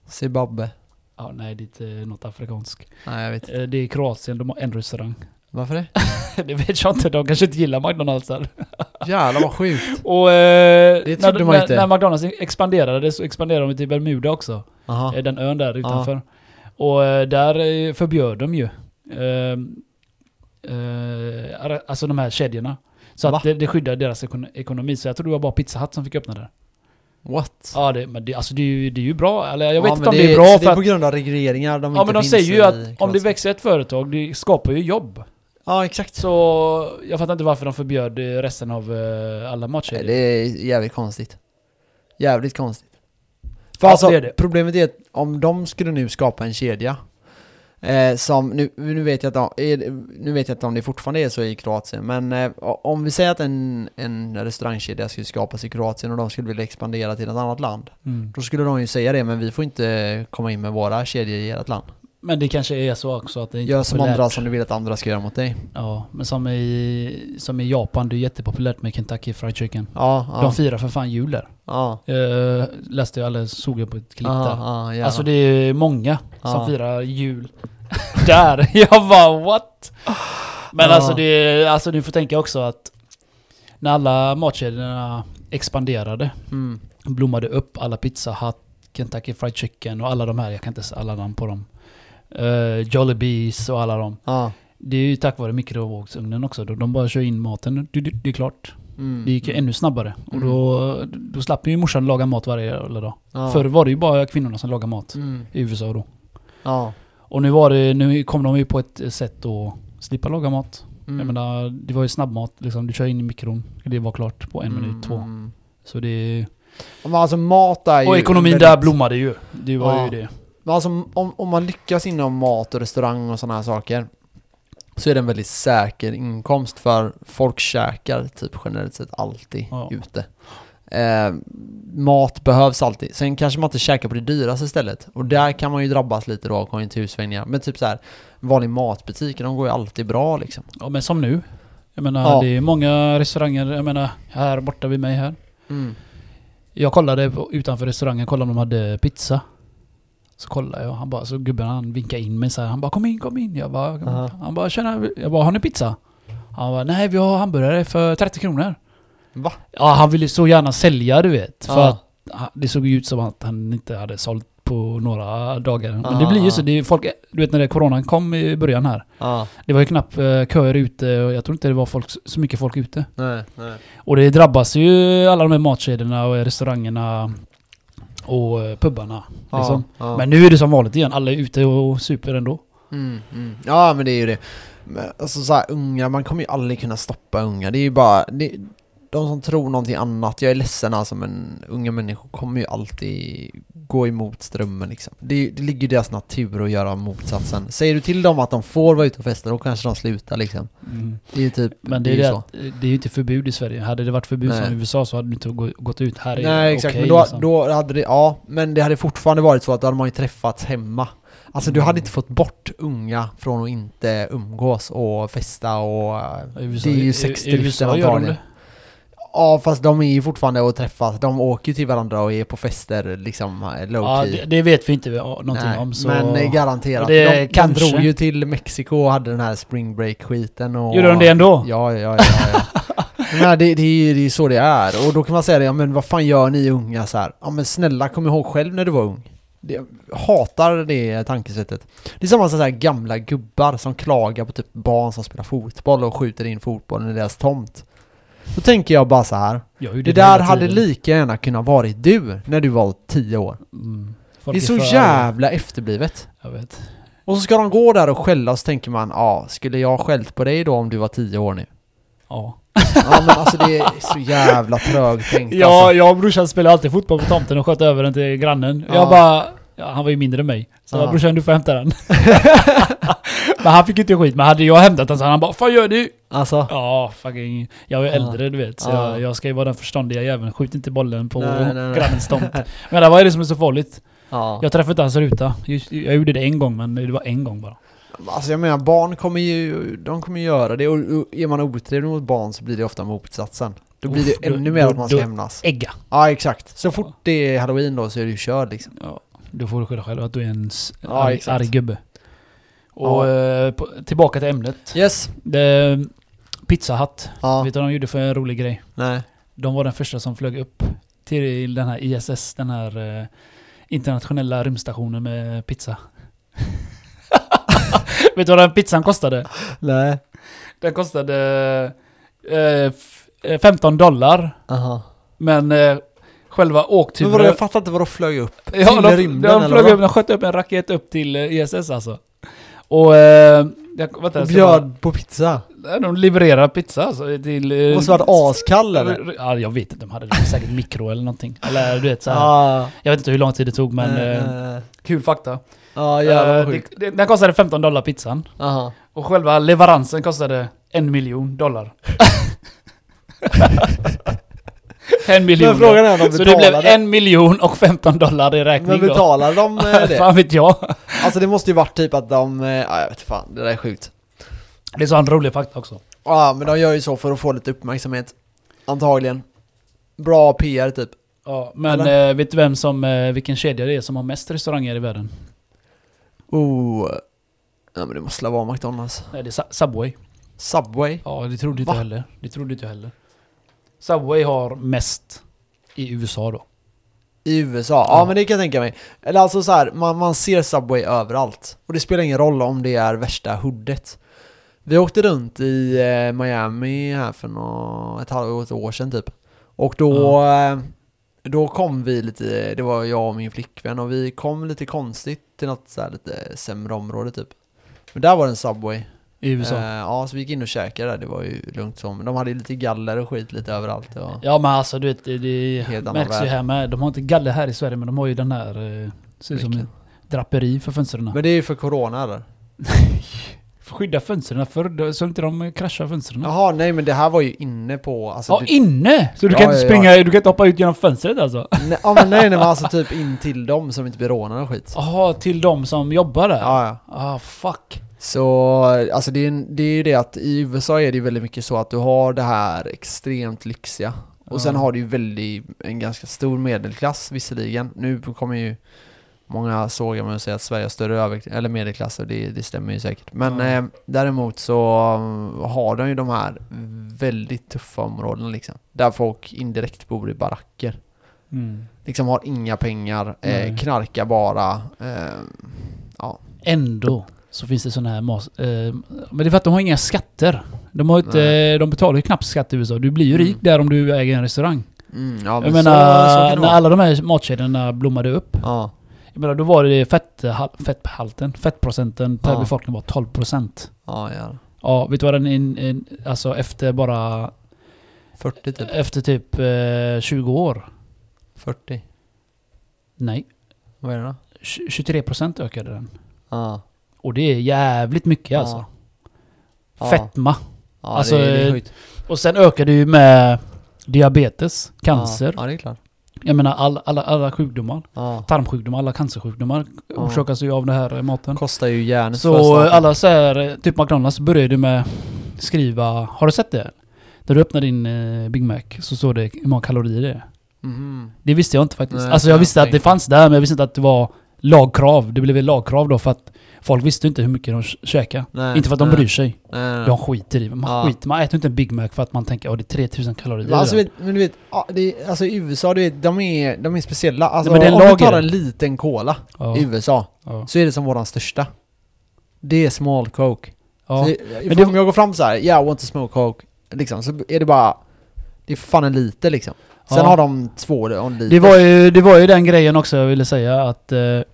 A: Zimbabwe.
B: Ja, nej, det är inte något afrikanskt.
A: Nej, jag vet inte.
B: Eh, Det är Kroatien, de har en restaurang.
A: Varför det?
B: det vet jag inte, de kanske inte gillar McDonalds där.
A: Jävlar vad sjukt.
B: Och eh,
A: Det
B: när,
A: trodde man
B: när,
A: inte.
B: när McDonalds expanderade så expanderade de till Bermuda också.
A: Aha.
B: Eh, Den ön där utanför. Och eh, där eh, förbjöd de ju eh, eh, ar- alltså de här kedjorna. Så
A: Va?
B: att det, det skyddar deras ekon- ekonomi. Så jag tror det var bara Pizza Hut som fick öppna där.
A: What?
B: Ja, det, men det, alltså det, är ju- det är ju bra. Eller jag vet
A: Ja,
B: inte
A: men
B: om det är bra
A: så
B: för
A: Det är
B: att
A: på grund av regleringar de
B: Ja
A: inte
B: men de
A: finns
B: säger ju
A: i
B: att om
A: Kroatien.
B: det växer ett företag, det skapar ju jobb.
A: Ja, exakt.
B: Så jag fattar inte varför de förbjöd eh, resten av eh, alla
A: Nej,
B: matcher.
A: Det är jävligt konstigt. Jävligt konstigt. För
B: Ja,
A: alltså,
B: det är det.
A: problemet är att om de skulle nu skapa en kedja eh, som, nu, nu, vet jag inte, om- är- nu vet jag inte om det fortfarande är så i Kroatien, men eh, om vi säger att en, en restaurangkedja skulle skapas i Kroatien och de skulle vilja expandera till ett annat land,
B: Mm.
A: då skulle de ju säga det, men vi får inte komma in med våra kedjor i ert land.
B: Men det kanske är så också att det inte är
A: Gör som
B: populärt.
A: andra som du vill att andra ska göra mot dig.
B: Ja, men som i, som i Japan, det är jättepopulärt med Kentucky Fried Chicken.
A: Ja, ja,
B: De firar för fan jul där.
A: ja.
B: Eh, läste jag, eller såg jag på ett klipp där.
A: Ja, ja,
B: Alltså det är många som
A: Ja.
B: firar jul där. Jag bara what? Men
A: Ja.
B: alltså, det, är- alltså du får tänka också att när alla matkedjorna expanderade,
A: mm.
B: blommade upp, alla Pizza Hut, Kentucky Fried Chicken och alla de här, jag kan inte säga alla namn på dem. Uh, Jollibees och alla dem.
A: ja.
B: Det är ju tack vare mikrovågsugnen också. då. De bara kör in maten, det, det, det är klart.
A: Mm.
B: Det gick ju ännu snabbare. Och då, då slapp ju morsan laga mat varje jävla dag.
A: ja.
B: Förr var det ju bara kvinnorna som lagade mat
A: Mm.
B: i USA då.
A: Ja.
B: Och nu, var det, nu kom de ju på ett sätt att slippa laga mat.
A: Mm.
B: Jag menar, det var ju snabbmat. Liksom. Du kör in i mikron. Det var klart på en minut, två.
A: Mm.
B: Så det...
A: Men alltså mat är ju...
B: Och ekonomin
A: väldigt-
B: där blommade ju. Det var
A: Ja.
B: ju det.
A: Men alltså om, om man lyckas inom mat och restaurang och sådana här saker så är det en väldigt säker inkomst för folk käkar typ generellt sett alltid
B: Ja.
A: ute. Eh, mat behövs alltid. Sen kanske man inte käkar på det dyraste stället. Och där kan man ju drabbas lite då av konjunktursvängningar. Men typ så här, vanlig matbutik, de går ju alltid bra liksom.
B: Ja, men som nu. Jag menar,
A: Ja.
B: det är många restauranger. Jag menar, här borta vid mig här.
A: Mm.
B: Jag kollade på, utanför restaurangen, kollade om de hade pizza. Så kollade jag, han bara, så gubben han vinkade in mig så här, han bara kom in, kom in. Jag bara, kom in.
A: Aha.
B: Han bara tjena, jag bara har ni pizza? Han bara nej vi har hamburgare för 30 kronor.
A: Va?
B: Ja han ville så gärna sälja du vet. För
A: Ja.
B: att han- det såg ju ut som att han inte hade sålt på några dagar. Men det
A: Ah,
B: blir ju
A: ah.
B: så, det är folk, du vet när det coronan kom i början här.
A: Ja.
B: Det var ju knappt eh, köer ute och jag tror inte det var folk, så mycket folk ute.
A: Nej, nej.
B: Och det drabbas ju alla de här matkedjorna och restaurangerna och eh, pubarna. Liksom.
A: Ja, ja.
B: Men nu är det som vanligt igen, alla är ute och super ändå.
A: Mm, mm. Ja men det är ju det. Men, alltså så här, unga, man kommer ju aldrig kunna stoppa unga. Det är ju bara, det, de som tror någonting annat, jag är ledsen alltså men unga människor kommer ju alltid gå emot strömmen liksom. Det, det ligger i deras natur att göra motsatsen. Säger du till dem att de får vara ute och festa, då kanske de slutar liksom.
B: Mm.
A: Det är ju typ,
B: Men det är,
A: ju
B: det,
A: så.
B: att, eh, det är ju inte förbud i Sverige. Hade det varit förbud
A: Nej.
B: som i USA så hade du inte gå- gått ut. Här är liksom.
A: Nej exakt, men då, då hade det, ja, men det hade fortfarande varit så att då hade man ju träffats hemma. Alltså du hade
B: Mm.
A: inte fått bort unga från att inte umgås och festa och... eh,
B: I USA,
A: det är ju
B: i- i-
A: sexdriften
B: i USA gör de
A: antagligen.
B: det.
A: Ja fast de är ju fortfarande och träffas, de åker ju till varandra och är på fester liksom eh, low
B: Ja,
A: key.
B: det, det vet vi inte ja, någonting
A: Nej,
B: om. Så...
A: Men eh, garanterat,
B: Det
A: de, de
B: kanske.
A: drog ju till Mexiko och hade den här spring break skiten och...
B: Gjorde de det ändå?
A: Ja, ja, ja. ja, ja. Nej, det, det, är, ju- det är ju så det är. Och då kan man säga det, ja men vad fan gör ni unga så här? Ja men snälla kom ihåg själv när du var ung. Det, jag hatar det tankesättet. Det är samma som så här gamla gubbar som klagar på typ barn som spelar fotboll och skjuter in fotbollen i deras tomt. Då tänker jag bara så här.
B: Jag
A: Det
B: gjorde
A: där
B: hela
A: hade
B: tiden.
A: lika gärna kunnat varit du när du var tio år.
B: Mm.
A: Det
B: Folk
A: är så
B: för arga.
A: jävla efterblivet.
B: Jag vet.
A: Och så ska de gå där och skälla och så tänker man, ja, skulle jag ha skällt på dig då om du var tio år nu?
B: Ja,
A: Ja men alltså det är så jävla trögtänkt
B: ja
A: alltså.
B: jag och brorsan spelade alltid fotboll på tomten och sköt över den till grannen.
A: Ja.
B: Jag bara... Ja, han var ju mindre än mig. Så jag
A: Ja.
B: bara, brorsan du får hämta den. men han fick ju inte skit. Men hade jag hämtat den så hade han bara 'Fan gör du?'
A: Alltså,
B: Ja, fucking. Jag är
A: Ja.
B: äldre du vet. Så
A: Ja.
B: jag, jag ska ju vara den förståndiga jäveln. Skjut inte bollen på
A: Nej, nej, nej.
B: grannens tomt. Men det var ju det som är så farligt.
A: Alltså, ja.
B: Jag träffade inte hans ruta. Just- Jag gjorde det en gång men det var en gång bara.
A: alltså jag menar barn kommer ju, de kommer göra det och, och är man otrevlig mot barn så blir det ofta motsatsen. Då blir det
B: Uff, då-
A: ännu mer
B: då-
A: att man ska
B: då-
A: hämnas.
B: Ägga.
A: Ja exakt. Så fort det är halloween då så är det ju körd liksom.
B: Ja, då får du skylla själv att du är en s-
A: Ja,
B: arg,
A: exakt.
B: arg gubbe. Och
A: Ja.
B: eh, på, tillbaka till ämnet.
A: Yes.
B: Det, pizza Hut.
A: Ja.
B: Vet du vad de gjorde för en rolig grej?
A: Nej.
B: De var den första som flög upp till den här ISS, den här eh, internationella rymdstationen med pizza. Vet du vad den pizzan kostade?
A: Nej.
B: Den kostade eh, f- eh, 15 dollar.
A: Aha.
B: Men eh, själva
A: Men vadå,
B: åkturen...
A: jag fattar inte vad de flög upp.
B: Ja,
A: till
B: de,
A: rymden,
B: de,
A: eller
B: flög
A: vad?
B: upp, de sköt upp en raket upp till eh, ISS alltså. Och... Eh, jag, vänta,
A: Och
B: jag ska
A: bjöd på pizza.
B: bara- de levererar pizza alltså, till... eh,
A: Måste varit askall eller?
B: Ja, jag vet inte. De hade säkert mikro eller någonting. Eller du vet så här.
A: Ja.
B: Jag vet inte hur lång tid det tog men... eh,
A: Eh, eh.
B: kul fakta.
A: Ja jävlar
B: Eh, det,
A: vad sjukt.
B: det, den kostade 15 dollar pizzan.
A: Aha.
B: Och själva leveransen kostade en miljon dollar. en miljon.
A: Men frågan är om de
B: Så det blev
A: betalade.
B: en miljon och 15 dollar i
A: Men
B: räkning då.
A: betalade de eh, det?
B: Fan vet jag.
A: Alltså det måste ju varit typ att de, eh, ja jag vet fan, det där är sjukt.
B: Det är så en rolig fakta också.
A: Ja men de gör ju så för att få lite uppmärksamhet. Antagligen. Bra PR typ.
B: Ja, men eh, vet du vem som, eh, vilken kedja det är som har mest restauranger i världen?
A: Oh. Ja men det måste väl vara McDonalds.
B: Nej, det är Su- Subway.
A: Subway.
B: Ja, det trodde inte
A: Va?
B: jag heller. Det trodde inte jag heller. Subway har mest i USA då.
A: I USA. Ja
B: Ja.
A: men det kan jag tänka mig. Eller alltså så här, man, man ser Subway överallt. Och det spelar ingen roll om det är värsta hoodet. Vi åkte runt i eh, Miami här för nå ett halvår, ett år sedan typ. Och då, eh, då kom vi lite, det var jag och min flickvän och vi kom lite konstigt till något så här lite sämre område typ. Men där var det en Subway.
B: I USA.
A: Eh, ja, så vi gick in och käkade där, det var ju lugnt som. De hade ju lite galler och skit lite överallt. Och,
B: Ja men alltså du vet, det, det
A: Helt annan
B: märks ju
A: värld.
B: här med. De har inte galler här i Sverige men de har ju den här... eh, Ser ut som
A: Vilken?
B: ett draperi för fönstren.
A: Men det är ju för corona eller?
B: För att skydda fönstren förr, då- så inte de kraschar fönstren. Ja,
A: Jaha, nej men det här var ju inne på... Alltså, typ-
B: inne! Så du
A: Ja,
B: kan inte
A: ja,
B: springa, du kan inte hoppa ut genom fönstret alltså?
A: Nej, ja, men nej, nej, men alltså typ in till dem som inte blir rånade och skit.
B: Jaha, till de som jobbar där?
A: Ja, ja.
B: Ah fuck.
A: Så alltså det är, en- det är ju det att i USA är det ju väldigt mycket så att du har det här extremt lyxiga. Och sen
B: Ja.
A: har du ju väldigt, en ganska stor medelklass visserligen. Nu kommer ju många såga mig och säga att Sverige har större över, eller medelklass och det, det stämmer ju säkert. Men
B: Ja.
A: eh, däremot så mm, har de ju de här väldigt tuffa områdena liksom. Där folk indirekt bor i baracker.
B: Mm.
A: liksom har inga pengar, eh,
B: Nej.
A: knarkar bara. Eh,
B: Ändå så finns det sådana här mas... Eh, men det är för att de har inga skatter. De, har inte, de betalar ju knappt skatt i USA. Du blir ju
A: Mm.
B: rik där om du äger en restaurang.
A: mm, ja, men
B: jag
A: så,
B: menar,
A: så kan det
B: när
A: vara.
B: alla de här matkedjorna blommade upp
A: Ja.
B: Jag Jag menar, då var det fetthal- fetthalten, fettprocenten per
A: Ja.
B: befolkning var 12%.
A: Ja, jävlar.
B: Ja, vet du vad den in, in, alltså efter bara,
A: 40 typ.
B: efter typ eh, 20 år?
A: 40.
B: Nej,
A: Vad är det då?
B: tj- 23% ökade den.
A: Ja.
B: Och det är jävligt mycket
A: Ja.
B: alltså.
A: Ja.
B: Fetma.
A: Ja,
B: Alltså,
A: det, det är sjukt.
B: Och sen ökar det ju med diabetes, cancer.
A: Ja, ja det är klart.
B: Jag menar all, alla, alla sjukdomar.
A: Ja.
B: Tarmsjukdomar, alla cancersjukdomar orsakas ju av den här eh, maten.
A: Kostar ju järnet för
B: Så
A: staten.
B: alla så här, eh, typ McDonalds börjar du med skriva, har du sett det? När du öppnar din eh, Big Mac så står det hur många kalorier det är.
A: Mhm.
B: Det visste jag inte faktiskt.
A: Nej,
B: alltså jag
A: jag
B: visste att det
A: tänkte.
B: fanns där men jag visste inte att det var lagkrav. Det blev väl lagkrav då för att folk visste inte hur mycket de kä- käkade.
A: Nej,
B: inte för att de
A: nej,
B: bryr sig.
A: nej, nej.
B: De skiter i det. Man,
A: Ja.
B: skiter, man äter inte en Big Mac för att man tänker att det är 3000 kalorier. i
A: Alltså,
B: den."
A: vet, men du vet, ja, det, är- alltså i USA, du vet, de är, de är speciella. Alltså,
B: men det är
A: om du
B: lager.
A: tar en liten cola
B: ja.
A: i USA,
B: Ja.
A: så är det som våran största. Det är small coke.
B: Ja.
A: Så,
B: Men
A: men
B: det-
A: om jag går fram så här, yeah, I want to smoke coke, liksom, så är det bara, det är fan en liter liksom. Sen
B: Ja.
A: har de två och en liter.
B: Det var, ju, det var ju den grejen också jag ville säga att eh, eh,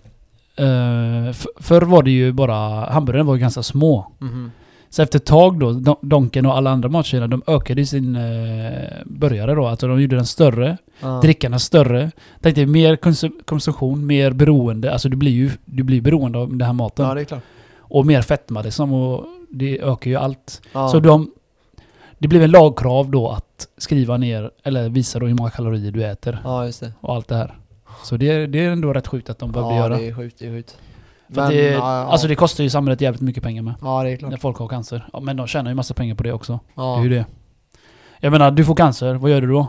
B: f- förr var det ju bara, hamburgaren var ju ganska små.
A: Mhm.
B: Så efter ett tag då, Don- Donken och alla andra matkedjorna, de ökade ju sin eh, burgare då. Alltså de gjorde den större,
A: Ja.
B: drickarna större. Tänkte mer konsum- konsumtion, mer beroende. Alltså du blir ju du blir beroende av den här maten.
A: Ja, det är klart.
B: Och mer fetma liksom och det ökar ju allt.
A: Ja.
B: Så de, det blev en lagkrav då att skriva ner, eller visa då hur många kalorier du äter
A: ja, just det.
B: och allt det här. Så det är, det är ändå rätt sjukt att de behövde
A: Ja,
B: göra.
A: det är sjukt, det är sjukt.
B: För att det,
A: ja, ja.
B: Alltså det kostar ju samhället jävligt mycket pengar med.
A: ja, det är klart.
B: När folk har cancer. Ja, men de tjänar ju massa pengar på det också. Det är
A: Ja.
B: ju det. Jag menar, du får cancer, vad gör du då?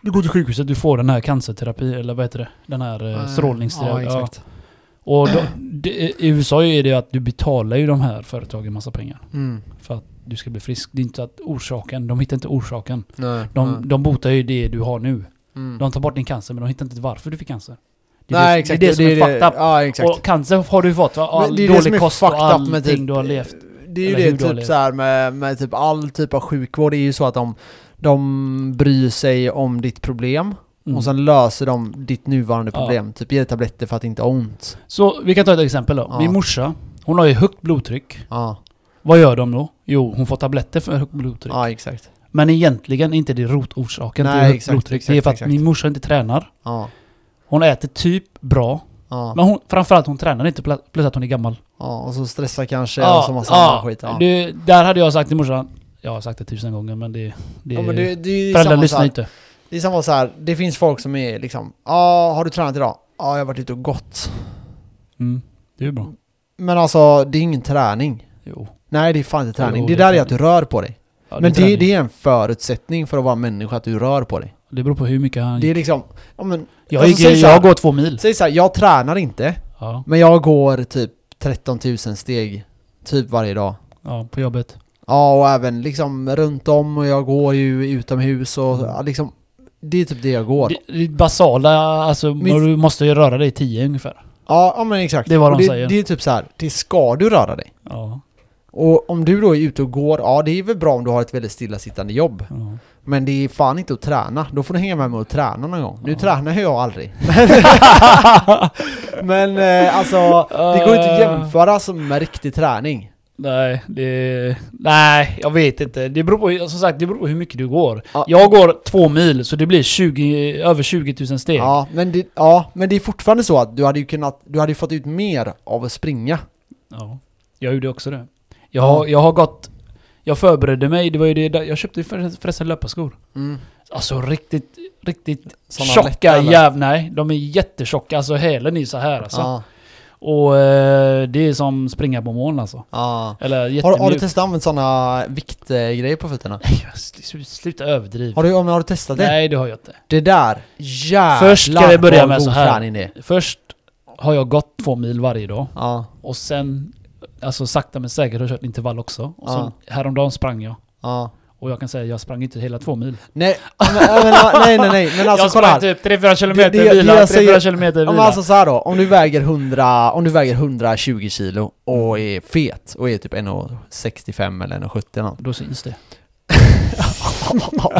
B: Du går till sjukhuset, du får den här cancerterapi, eller vad heter det? Den här eh,
A: Ja,
B: strålningsterapi. Ja,
A: exakt.
B: och då, det, i USA är det ju att du betalar ju de här företagen massa pengar.
A: Mm.
B: För att du ska bli frisk. Det är inte att orsaken, de hittar inte orsaken.
A: Nej.
B: De,
A: nej.
B: de botar ju det du har nu.
A: Mm.
B: De tar bort din cancer men de hittar inte varför du fick cancer. Det är,
A: Nej,
B: det,
A: exakt.
B: det är det som är fucked up.
A: Ja, exakt.
B: Och cancer har du fått va? All
A: Men det är det som
B: dålig
A: är
B: kost och
A: fucked up
B: allting
A: med typ-
B: du har levt.
A: Det är ju
B: Eller hur
A: det
B: du har
A: typ
B: levt.
A: så här med, med typ all typ av sjukvård, det är ju så att de, de bryr sig om ditt problem
B: Mm.
A: och sen löser de ditt nuvarande
B: Ja.
A: problem. Typ ger dig tabletter för att inte ha ont.
B: Så vi kan ta ett exempel då.
A: Ja.
B: Min morsa, hon har ju högt blodtryck.
A: Ja,
B: Vad gör de då? Jo, hon får tabletter för högt blodtryck.
A: ja exakt.
B: Men egentligen är inte det rotorsaken till
A: Nej,
B: högt
A: exakt,
B: blodtryck.
A: exakt,
B: det är för att
A: exakt.
B: min morsa inte tränar.
A: Ja,
B: Hon äter typ bra.
A: ja,
B: Men hon, framförallt hon tränar inte pl- plus att hon är gammal.
A: ja. Och så stressar kanske och så massa annan skit. Ja.
B: Du, där hade jag sagt till morsan, jag har sagt det tusen gånger men det... det,
A: ja, men det, det är ju
B: föräldrar
A: samma, så
B: lyssnar
A: här,
B: inte.
A: det är samma så här, det finns folk som är liksom, ja, har du tränat idag? Ja, jag har varit ute och gått.
B: Mm, det är ju bra.
A: Men alltså, det är ingen träning.
B: Jo.
A: Nej, det är fan inte träning.
B: Jo,
A: det,
B: det är
A: där är att du rör på dig.
B: Ja,
A: Men det,
B: träning.
A: det är en förutsättning för att vara människa, att du rör på dig.
B: Det beror på hur mycket han...
A: Det är liksom, ja men,
B: jag,
A: alltså,
B: gick,
A: säg så här-
B: jag går två mil.
A: säg såhär, jag tränar inte,
B: Ja,
A: men jag går typ 13 000 steg, typ varje dag.
B: ja, på jobbet.
A: Ja, och även liksom runt om och jag går ju utomhus och ja, liksom, det är typ det jag går.
B: Mm. Det, det basala, alltså
A: Min-
B: du måste ju röra dig 10 ungefär.
A: Ja, ja men exakt.
B: Det är vad de
A: Och det,
B: säger.
A: Det är typ så här, det ska du röra dig.
B: Ja.
A: Och om du då är ute och går, ja det är väl bra om du har ett väldigt stillasittande jobb.
B: ja.
A: Men det är fan inte att träna. Då får du hänga med mig och träna någon gång. Nu
B: Ja.
A: tränar ju jag aldrig. Men eh, alltså, det går inte att jämföra som med riktig träning.
B: Nej, det... Nej, jag vet inte. Det beror på, som sagt, det beror på hur mycket du går.
A: Ja.
B: Jag går två mil, så det blir 20, över 20 000 steg.
A: Ja men, det, ja, men det är fortfarande så att du hade ju kunnat, du hade ju fått ut mer av att springa.
B: Ja, jag gjorde också det. Jag, har- jag har gått... Jag förberedde mig, det var ju det där- Jag köpte ju förre- förresten löparskor.
A: Mm.
B: Alltså riktigt, riktigt
A: Såna lätta,
B: tjocka
A: eller?
B: jäv... Nej, de är jättetjocka. Alltså hälen är så här alltså.
A: Ja,
B: Och eh, det är som springa på moln alltså.
A: ja.
B: Eller
A: Har,
B: jättemjuk.
A: har du testat att använda sådana viktgrejer på fötterna?
B: Sluta överdriv.
A: Har du, ja, men har du testat det?
B: Nej, det har jag inte.
A: Det där, jävlar
B: Först ska vi börja
A: vad
B: med
A: god
B: så här.
A: träning det är.
B: Först har jag gått två mil varje dag.
A: Ja,
B: Och sen, alltså sakta men säkert har jag kört intervall också. Och sen
A: Ja.
B: häromdagen sprang jag.
A: ja.
B: Och jag kan säga jag sprang inte hela två mil.
A: Nej, men, men, nej, nej, nej, men alltså
B: jag
A: kolla här.
B: sprang typ 3-4 kilometer
A: det jag
B: vila, 3-4
A: säger-
B: kilometer
A: Ja,
B: vila.
A: men alltså så här då, om du väger 100, om du väger 120 kilo och
B: Mm.
A: är fet och är typ 1,65 eller 1,70 eller något.
B: Då syns det.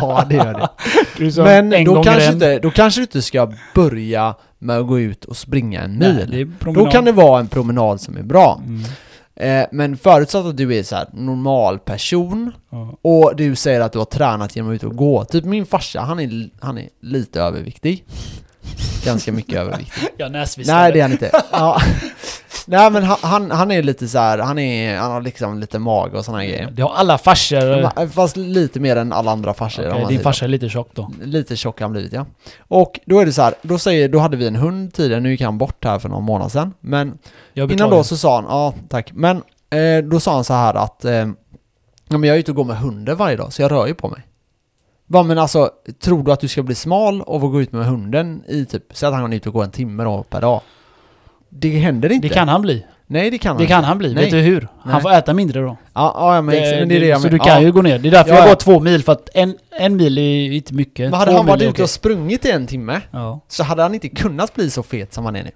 A: Ja det gör det.
B: Du är som
A: Men
B: en
A: då
B: gång
A: kanske,
B: ren.
A: inte, då kanske du inte ska börja med att gå ut och springa en
B: Nej,
A: mil.
B: det är
A: Då
B: promenad.
A: kan det vara en promenad som är bra.
B: Mm.
A: Eh, men förutsatt att du är så här normal person
B: Ja.
A: och du säger att du har tränat genom att ut och gå. Typ min farsa, han är, han är lite överviktig. Ganska mycket överviktig.
B: Jag näsvissade.
A: Nej det är han inte. Ja. Nej men han- han, han är lite så här, han, är, han har liksom lite mage och såna här grejer.
B: Det har alla farsor.
A: Ma- Fast lite mer än alla andra farsor. om
B: Okej,
A: man
B: din
A: säger.
B: farsa är lite tjock då.
A: Lite tjock har han blivit ja. Och då är det så här, då, säger, då hade vi en hund tidigare, nu gick han bort här för någon månad sedan. Men
B: Jag
A: Innan
B: beklagar.
A: då så sa han, ja tack, men eh, då sa han så här att eh, ja, men jag är ute och går med hunden varje dag så jag rör ju på mig. Bara, men alltså, tror du att du ska bli smal och få gå ut med hunden i typ, säg att han är ute och går en timme då per dag. Det händer inte.
B: Det kan han bli.
A: Nej det kan
B: Det
A: han
B: kan han bli.
A: Nej.
B: Vet du hur?
A: Nej.
B: Han får äta mindre då. Eh,
A: Ja, ja men, det, men det är det jag
B: så
A: menar.
B: du kan
A: ja.
B: ju gå ner. Det är därför
A: Ja,
B: jag
A: ja.
B: går två mil, för att en, en mil är ju inte mycket.
A: Men hade
B: två
A: han varit
B: mil är
A: ute och
B: okej.
A: sprungit i en timme
B: Ja,
A: så hade han inte kunnat bli så fet som han är nu.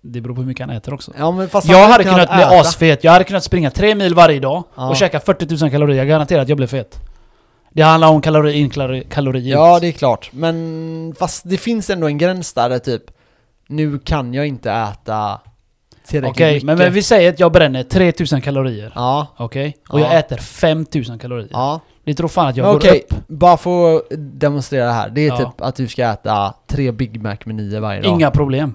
B: det beror på hur mycket han äter också.
A: Ja, men fast han
B: Jag hade kunnat bli
A: äta.
B: asfet. Jag hade kunnat springa tre mil varje dag
A: Ja.
B: och käka 40 000 kalorier. Jag garanterar att jag blev fet. Det handlar om kalori in, kalori, kalori ut.
A: Ja, det är klart. Men fast det finns ändå en gräns där, det är typ nu kan jag inte äta tillräckligt
B: Okej,
A: mycket.
B: men, men vi säger att jag bränner 3000 kalorier.
A: Ja,
B: Okej? Och
A: Ja.
B: jag äter 5000 kalorier.
A: ja.
B: Ni tror fan att jag
A: Men
B: går
A: Okej,
B: upp.
A: bara för att demonstrera det här. Det är
B: Ja.
A: typ att du ska äta tre Big Mac med nio varje dag.
B: Inga problem.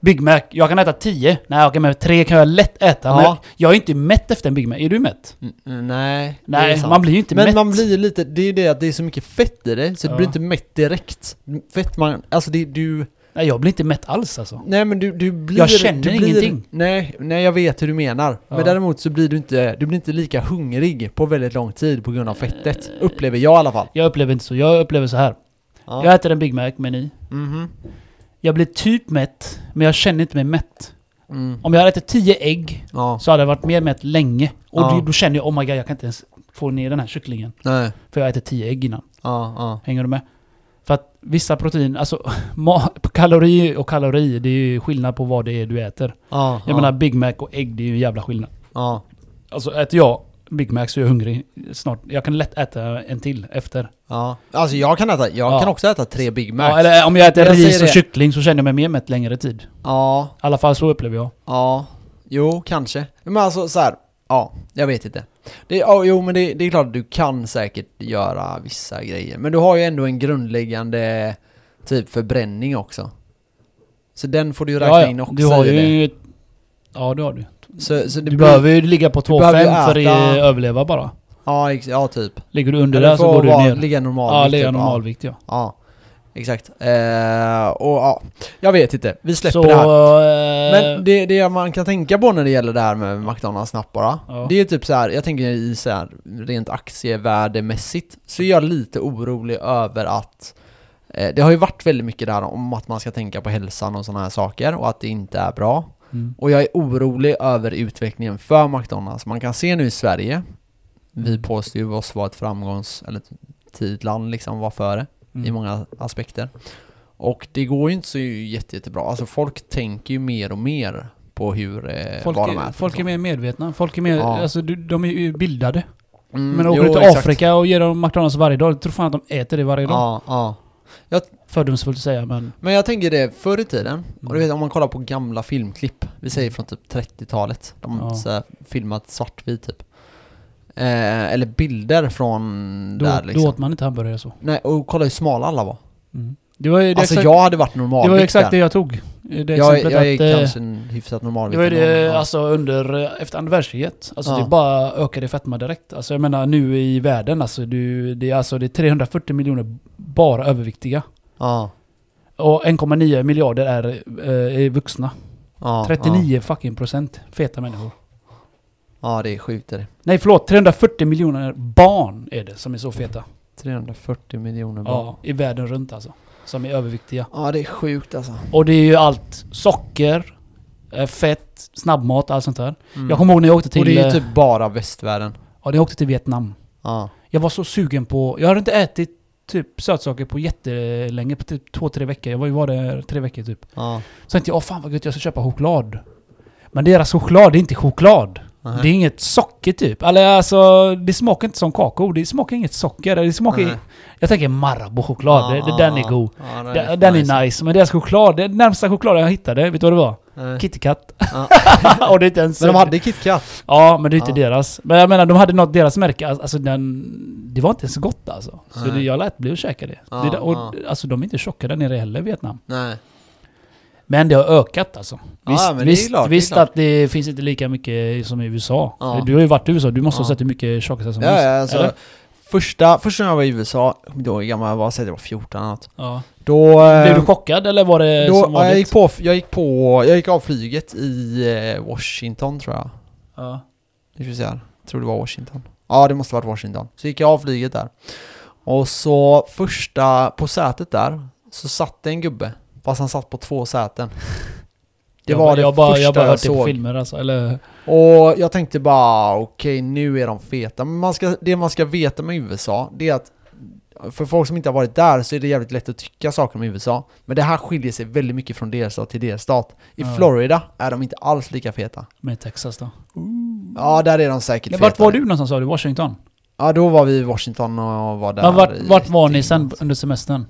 B: Big Mac, jag kan äta 10. Nej okej, men 3 kan jag lätt äta.
A: Ja.
B: Men jag- jag är inte mätt efter en Big Mac. Är du mätt?
A: Mm, nej, det är
B: Nej,
A: sant.
B: man blir ju inte
A: Men
B: mätt.
A: man blir ju lite, det är ju det att det är så mycket fett i det, så du
B: Ja.
A: blir inte mätt direkt. Fett man, alltså det, du,
B: Nej, jag blir inte mätt alls alltså.
A: nej men du, du blir...
B: Jag känner
A: du blir,
B: ingenting.
A: Nej, nej jag vet hur du menar. Men
B: Ja.
A: däremot så blir du inte, du blir inte lika hungrig på väldigt lång tid på grund av
B: Eh.
A: fettet. Upplever jag i alla fall.
B: Jag upplever inte så. Jag upplever så här.
A: Ja.
B: Jag äter en Big Mac-meny.
A: Mhm.
B: Jag blir typ mätt, men jag känner inte mig mätt.
A: Mm.
B: Om jag hade ätit 10 ägg
A: Ja.
B: så hade jag varit mer mätt länge. Och
A: Ja.
B: då, då känner jag oh my god, jag kan inte ens få ner den här kycklingen.
A: Nej.
B: För jag har ätit 10 ägg innan.
A: Ja, ja.
B: Hänger du med? För att vissa protein, alltså ma- kalori och kalori, det är ju skillnad på vad det är du äter.
A: Ja,
B: Jag menar Big Mac och ägg, det är ju en jävla skillnad.
A: ja.
B: Alltså äter jag Big Mac så är jag hungrig snart. Jag kan lätt äta en till efter.
A: Ja. Alltså jag kan äta, jag
B: Ja.
A: kan också äta tre Big Macs.
B: Ja, eller om jag äter
A: Jag
B: ris
A: säger
B: och
A: det.
B: kyckling så känner jag mig mer mätt längre tid. I
A: ja,
B: alla fall så upplever jag.
A: ja. Jo, kanske. Men alltså så här. ja, jag vet inte. Det, ja, jo men det, det är klart att du kan säkert göra vissa grejer. Men du har ju ändå en grundläggande typ förbränning också. Så den får du ju räkna
B: Ja,
A: in
B: ja.
A: också
B: Du har
A: i det.
B: ju... Ja, det har du.
A: Så, så det
B: Du behöver ju ligga på
A: behöver ju
B: 2,5 för att
A: äta-
B: överleva bara.
A: Ja, ex- ja typ.
B: Ligger du under
A: Eller
B: där så
A: får
B: går du
A: vara-
B: ner.
A: Ligga normal.
B: Ja,
A: vikt,
B: ligga
A: typ.
B: normalvikt ja.
A: Ja, exakt. Eh, och ja, jag vet inte. Vi släpper
B: Så...
A: typ,
B: eh,
A: det här. Men
B: Men
A: det, det man kan tänka på när det gäller det här med McDonalds snabb bara.
B: Ja.
A: Det är typ så här, jag tänker i så här, rent aktievärdemässigt så är jag lite orolig över att eh, det har ju varit väldigt mycket där om att man ska tänka på hälsan och sådana här saker och att det inte är bra.
B: Mm.
A: Och jag är orolig över utvecklingen för McDonalds. Man kan se nu i Sverige, vi påstår ju oss vara ett framgångs... eller ett tidigt land liksom, var före i
B: Mm.
A: många aspekter. Och det går ju inte så jätte, jättebra. Alltså folk tänker ju mer och mer på hur... Eh,
B: Folk,
A: vad de
B: är,
A: äter,
B: folk är
A: liksom.
B: mer medvetna. Folk är mer...
A: Ja.
B: Alltså du, de är ju bildade.
A: Mm,
B: Men åker
A: jo,
B: du till
A: exakt.
B: Afrika och ger dem McDonalds varje dag, jag tror fan att de äter det varje dag.
A: Ja, ja.
B: Fördomsfullt att säga men...
A: Men jag tänker det förr i tiden, och du
B: Mm.
A: vet om man kollar på gamla filmklipp, vi säger från typ 30-talet, de har
B: Ja.
A: så här filmat svartvit typ. Eh, eller bilder från
B: Då,
A: där liksom.
B: då åt man inte hamburgare så.
A: Nej, och kolla hur smala alla var.
B: Mm. Det var ju det
A: alltså
B: exakt,
A: jag hade varit
B: det, var ju
A: normalvikt
B: exakt det
A: där.
B: jag tog. Det
A: Jag,
B: exemplet
A: jag är
B: att, eh,
A: kanske en hyfsat
B: Det
A: normalvikt.
B: var ju det,
A: ändå, men,
B: alltså under, eh, efter andra världskriget. Alltså
A: Ja.
B: det bara ökade fetma direkt. Alltså jag menar nu i världen, alltså, du, det, är, alltså, det är 340 miljoner bara överviktiga.
A: ja.
B: Och 1,9 miljarder är, eh, är vuxna.
A: Ja,
B: 39 fucking procent feta människor.
A: Ja, ja det är sjukt är det.
B: Nej förlåt, 340 miljoner barn är det som är så feta.
A: 340 miljoner barn. Ja.
B: Ja, i världen runt alltså. Som är överviktiga.
A: det är sjukt alltså.
B: Och det är ju allt socker, eh, fett, snabbmat, allt sånt där.
A: Mm.
B: Jag kommer ihåg när jag åkte
A: och
B: till...
A: det är
B: eh,
A: ju typ bara västvärlden.
B: Ja, när jag åkte till Vietnam.
A: Ja.
B: Jag var så sugen på... Jag hade inte ätit typ sötsaker på jättelänge, på typ två, tre veckor. Jag var ju var där tre veckor typ.
A: Ja.
B: Så tänkte jag, åh fan vad gött, jag ska köpa choklad. Men deras choklad, det är inte choklad.
A: Nej.
B: Det är inget socker typ. Eller alltså, det smakar inte som kakao. Det smakar inget socker. Det smakar...
A: Nej.
B: Jag tänker Marabou-choklad. det, det, den är god.
A: Ja, den
B: Den, den är nice. Men deras choklad, den närmsta chokladen jag hittade, vet du vad det var?
A: Nej.
B: KitKat.
A: Ja.
B: och det är inte ens...
A: Men de hade KitKat.
B: Ja, men det är inte
A: Ja.
B: deras. Men jag menar, de hade något deras märke. Alltså alltså, den... Det var inte så gott alltså. Så
A: Nej.
B: det, jag lät bli att käka det.
A: Ja,
B: det där- och,
A: ja.
B: Alltså de är inte tjocka där nere heller i Vietnam.
A: Nej.
B: Men det har ökat alltså.
A: Ja,
B: Visst,
A: men det är
B: visst,
A: klart, det är
B: visst
A: klart.
B: att det finns inte lika mycket som i USA.
A: Ja.
B: Du har ju varit i USA, du måste ha
A: Ja.
B: sett hur mycket tjockisar som
A: Ja,
B: finns.
A: ja, alltså,
B: Eller?
A: första, första gången jag var i USA, jag kommer inte ihåg hur gammal jag var, säg att jag var 14 eller något.
B: Ja.
A: Då...
B: Blev
A: eh,
B: du chockad eller var det
A: då
B: som
A: ja,
B: vanligt?
A: jag, gick på, jag gick på... Jag gick av flyget i eh, Washington tror jag.
B: Ja.
A: Nu ska vi se här. Jag tror det var Washington. Ja, det måste ha varit Washington. Så gick jag av flyget där. Och så första, på sätet där, så satt det en gubbe. Fast han satt på två säten. Det
B: jag,
A: var
B: bara-
A: det
B: jag bara,
A: första
B: jag bara hört det på
A: såg.
B: filmer alltså, eller?
A: Och jag tänkte bara, okej nu är de feta. Men man ska, det man ska veta med USA, det är att för folk som inte har varit där så är det jävligt lätt att tycka saker om USA. Men det här skiljer sig väldigt mycket från delstat till delstat. I
B: Ja.
A: Florida är de inte alls lika feta.
B: Med Texas då?
A: Ja, där är de säkert
B: Men
A: feta.
B: Vart var du någonstans sa du? Washington?
A: Ja, då var vi i Washington och var där
B: Men vart,
A: i-
B: vart var ni sen under semestern?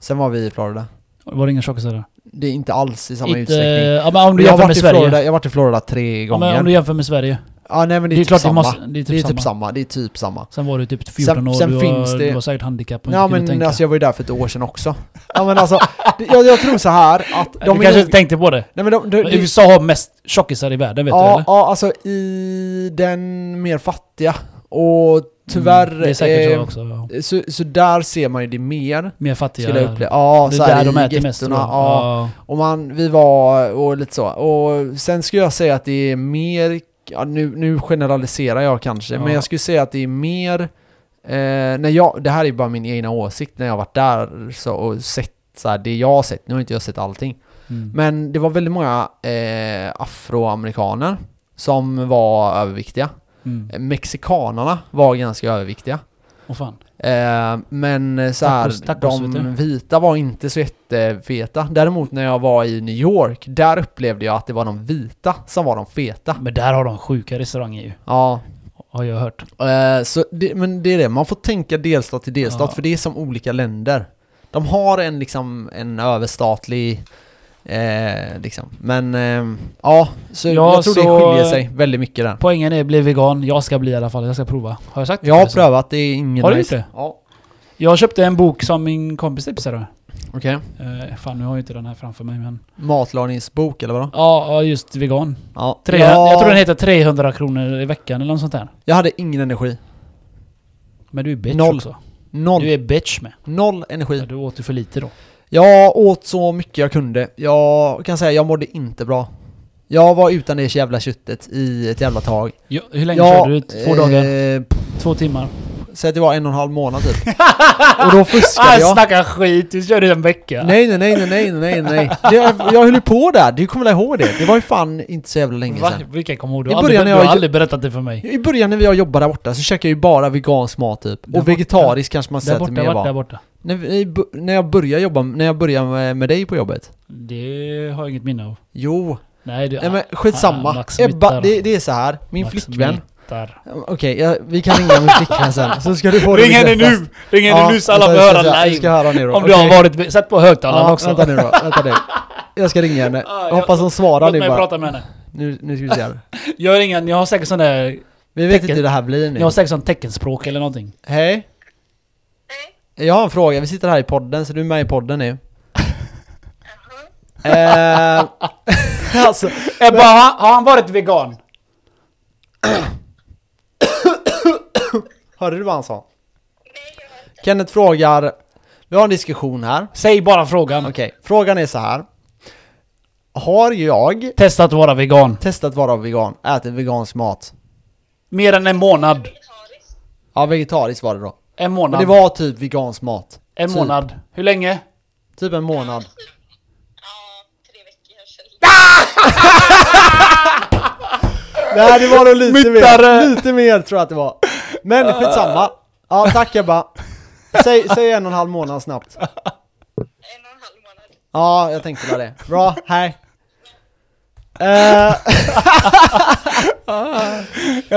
A: Sen var vi i Florida.
B: Var det inga tjockisar där?
A: Det är inte alls i samma
B: Inte-
A: utsträckning.
B: Ja, men om du
A: jag,
B: jämför
A: har varit
B: med
A: i
B: Sverige?
A: Florida, jag har varit i Florida tre
B: ja,
A: gånger.
B: men om du jämför med Sverige?
A: Ja, nej men
B: Det är,
A: det är,
B: klart
A: typ, samma.
B: det måste... Det är typ,
A: det är
B: samma.
A: typ samma. Det är typ samma.
B: Sen var du typ 14 år,
A: sen
B: du,
A: finns
B: var,
A: det-
B: du var säkert handikapp och
A: Ja
B: inte kunde
A: men
B: tänka.
A: alltså jag var ju där för ett år sedan också. Ja men alltså, det- jag, jag tror så här att de
B: du
A: är
B: kanske
A: nog-
B: inte tänkte på det?
A: Nej men de, de,
B: Men
A: de,
B: USA har mest tjockisar i världen, vet du
A: ja,
B: eller?
A: ja alltså i den mer fattiga och tyvärr...
B: Mm, det är säkert
A: eh,
B: så också. ja.
A: så, så där ser man ju det mer.
B: Mer
A: Skulle
B: fattiga.
A: jag uppleva. Ja,
B: det
A: så
B: är
A: här
B: där de
A: i
B: äter mest. tror
A: gettorna,
B: jag.
A: Ja. Och man, vi var och lite så. Och sen skulle jag säga att det är mer, ja, nu, nu generaliserar jag kanske,
B: Ja.
A: men jag skulle säga att det är mer, eh, när jag, det här är bara min egna åsikt när jag varit där så, och sett så här, det jag har sett, nu har inte jag sett allting.
B: Mm.
A: Men det var väldigt många eh, afroamerikaner som var överviktiga.
B: Mm.
A: Eh, Mexikanerna var ganska överviktiga.
B: Och fan.
A: Eh, men så här,
B: Tacos- tacos, vet du.
A: de vita var inte så jättefeta. Däremot när jag var i New York, där upplevde jag att det var de vita som var de feta.
B: Men där har de sjuka restauranger ju.
A: Ja,
B: Har jag hört.
A: eh, så det, men det är det, man får tänka delstat till delstat
B: Ja.
A: för det är som olika länder. De har en liksom en överstatlig eh, liksom. Men eh, ja, så
B: Ja,
A: jag tror det
B: så-
A: skiljer sig väldigt mycket där.
B: Poängen är bli vegan. Jag ska bli i alla fall. Jag ska prova. Har jag sagt det?
A: Jag har
B: förresten?
A: prövat, det är ingen
B: Har du
A: nice.
B: gjort
A: Ja,
B: Jag köpte en bok som min kompis tipsade.
A: okej.
B: Uh, fan, nu har jag inte den här framför mig men...
A: Matlagningsbok eller vadå?
B: Ja, ja, just vegan.
A: Ja.
B: Tre,
A: ja,
B: Jag tror den heter 300 kronor i veckan eller något sånt där.
A: jag hade ingen energi.
B: Men du är bitch
A: Noll.
B: också.
A: Noll,
B: Du är bitch med.
A: noll
B: Ja,
A: energi.
B: du åt ju för lite då.
A: Jag åt så mycket jag kunde. Jag kan säga, jag mådde inte bra. Jag var utan det jävla köttet i ett jävla tag.
B: Ja, hur länge
A: jag,
B: körde du? Två dagar?
A: Eh,
B: Två timmar?
A: säg att det var en och en halv månad typ. och då fuskade
B: Ah,
A: jag.
B: snacka skit! Du körde en vecka.
A: Nej, nej, nej, nej, nej, nej, nej. Det, jag höll ju på där, du kommer väl ihåg det? Det var ju fan inte så jävla länge
B: Va?
A: sedan.
B: Vilka kommer ihåg? Du
A: I
B: har aldrig,
A: början
B: du
A: när jag-
B: har aldrig berättat det för mig.
A: I början när jag jobbade där borta så käkade jag ju bara vegansk mat typ.
B: Där
A: Och vegetarisk kanske man
B: Där
A: säger att
B: borta,
A: det mer
B: där
A: var.
B: borta.
A: När, vi- bu- när jag började jobba, när jag började med, med dig på jobbet.
B: Det har jag inget minne av.
A: Jo,
B: Nej, det...
A: Nej men
B: Ah,
A: skitsamma.
B: Max
A: Ebba,
B: Mittar.
A: det, det är så här. min
B: Max
A: flickvän.
B: Mittar.
A: Okej, jag- vi kan ringa min flickvän sen. Så ska du få
B: Ring henne
A: bekräftat.
B: nu! Ring henne
A: Ja,
B: nu så alla får
A: vänta, vi ska-
B: höra
A: Vi ska
B: live!
A: höra nu då.
B: Om du har
A: Okej.
B: varit... Sätt på högtalaren
A: Ja,
B: också.
A: Vänta nu då, vänta nu. Jag ska ringa henne.
B: Ah,
A: Jag
B: jag-
A: hoppas hon svarar
B: Låt
A: nu
B: mig
A: bara.
B: prata med henne.
A: Nu, nu ska vi se här.
B: Gör ingen... Jag har säkert sån där...
A: Vi vet
B: Tecken.
A: inte hur det här blir
B: Jag
A: nu.
B: har säkert sån teckenspråk eller någonting.
A: Hej? Jag har en fråga, vi sitter här i podden så du är med i podden nu. eh, alltså,
B: Ebba, har han- Eh, har han varit vegan?
A: hörde du vad han sa? Kenneth frågar, vi har en diskussion här.
B: Säg bara frågan.
A: Okej, frågan är så här. Har jag
B: Testa att vara vegan.
A: testat vara vegan, ätit vegansk mat?
B: Mer än en månad.
A: Ja, vegetariskt var det då.
B: En månad.
A: Men det var typ vegansk mat.
B: en
A: typ.
B: månad. Hur länge?
A: Typ en månad.
C: Ja, tre veckor sedan.
A: Nej, det var nog lite
B: Myttare!
A: mer. Lite mer tror jag att det var. Men skitsamma. Ja, tack Ebba. Säg, säg en och en halv månad snabbt.
C: En och en halv månad.
A: Ja, jag tänkte väl det. Bra, hej. Eh,
B: Jag
A: Ja,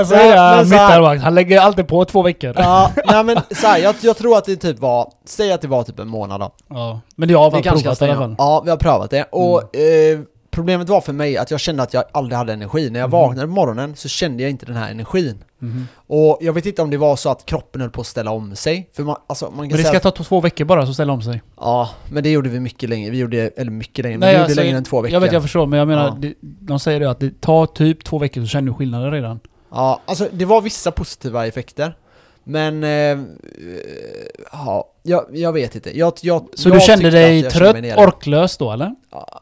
B: säger
A: men så här-
B: mittarvakt, han lägger alltid på två veckor.
A: Ja, nej men så här, jag, jag tror att det typ var, säg att det var typ en månad då.
B: Ja. Men jag har
A: Vi
B: väl
A: kanske kan
B: provat Mm. i alla
A: stänga
B: fall.
A: av. Ja, vi har prövat det. Och eh, problemet var för mig att jag kände att jag aldrig hade energi. När jag
B: Mm.
A: vaknade på morgonen så kände jag inte den här energin.
B: Mhm.
A: Och jag vet inte om det var så att kroppen höll på att ställa om sig. För man, alltså, man kan
B: Men det
A: säga
B: ska
A: att,
B: ta två veckor bara, så ställer om sig.
A: Ja, men det gjorde vi mycket längre. Vi gjorde, eller mycket längre, men vi gjorde
B: alltså,
A: längre än två veckor.
B: Jag vet, jag förstår. Men jag menar,
A: Ja.
B: det, de säger det att det tar typ två veckor så känner du skillnaden redan.
A: Ja, alltså det var vissa positiva effekter. Men, eh, eh, ja, jag, jag vet inte. Jag, jag,
B: Så
A: jag
B: du kände
A: tyckte att
B: dig
A: jag
B: trött,
A: kände mig nere.
B: orklös då eller?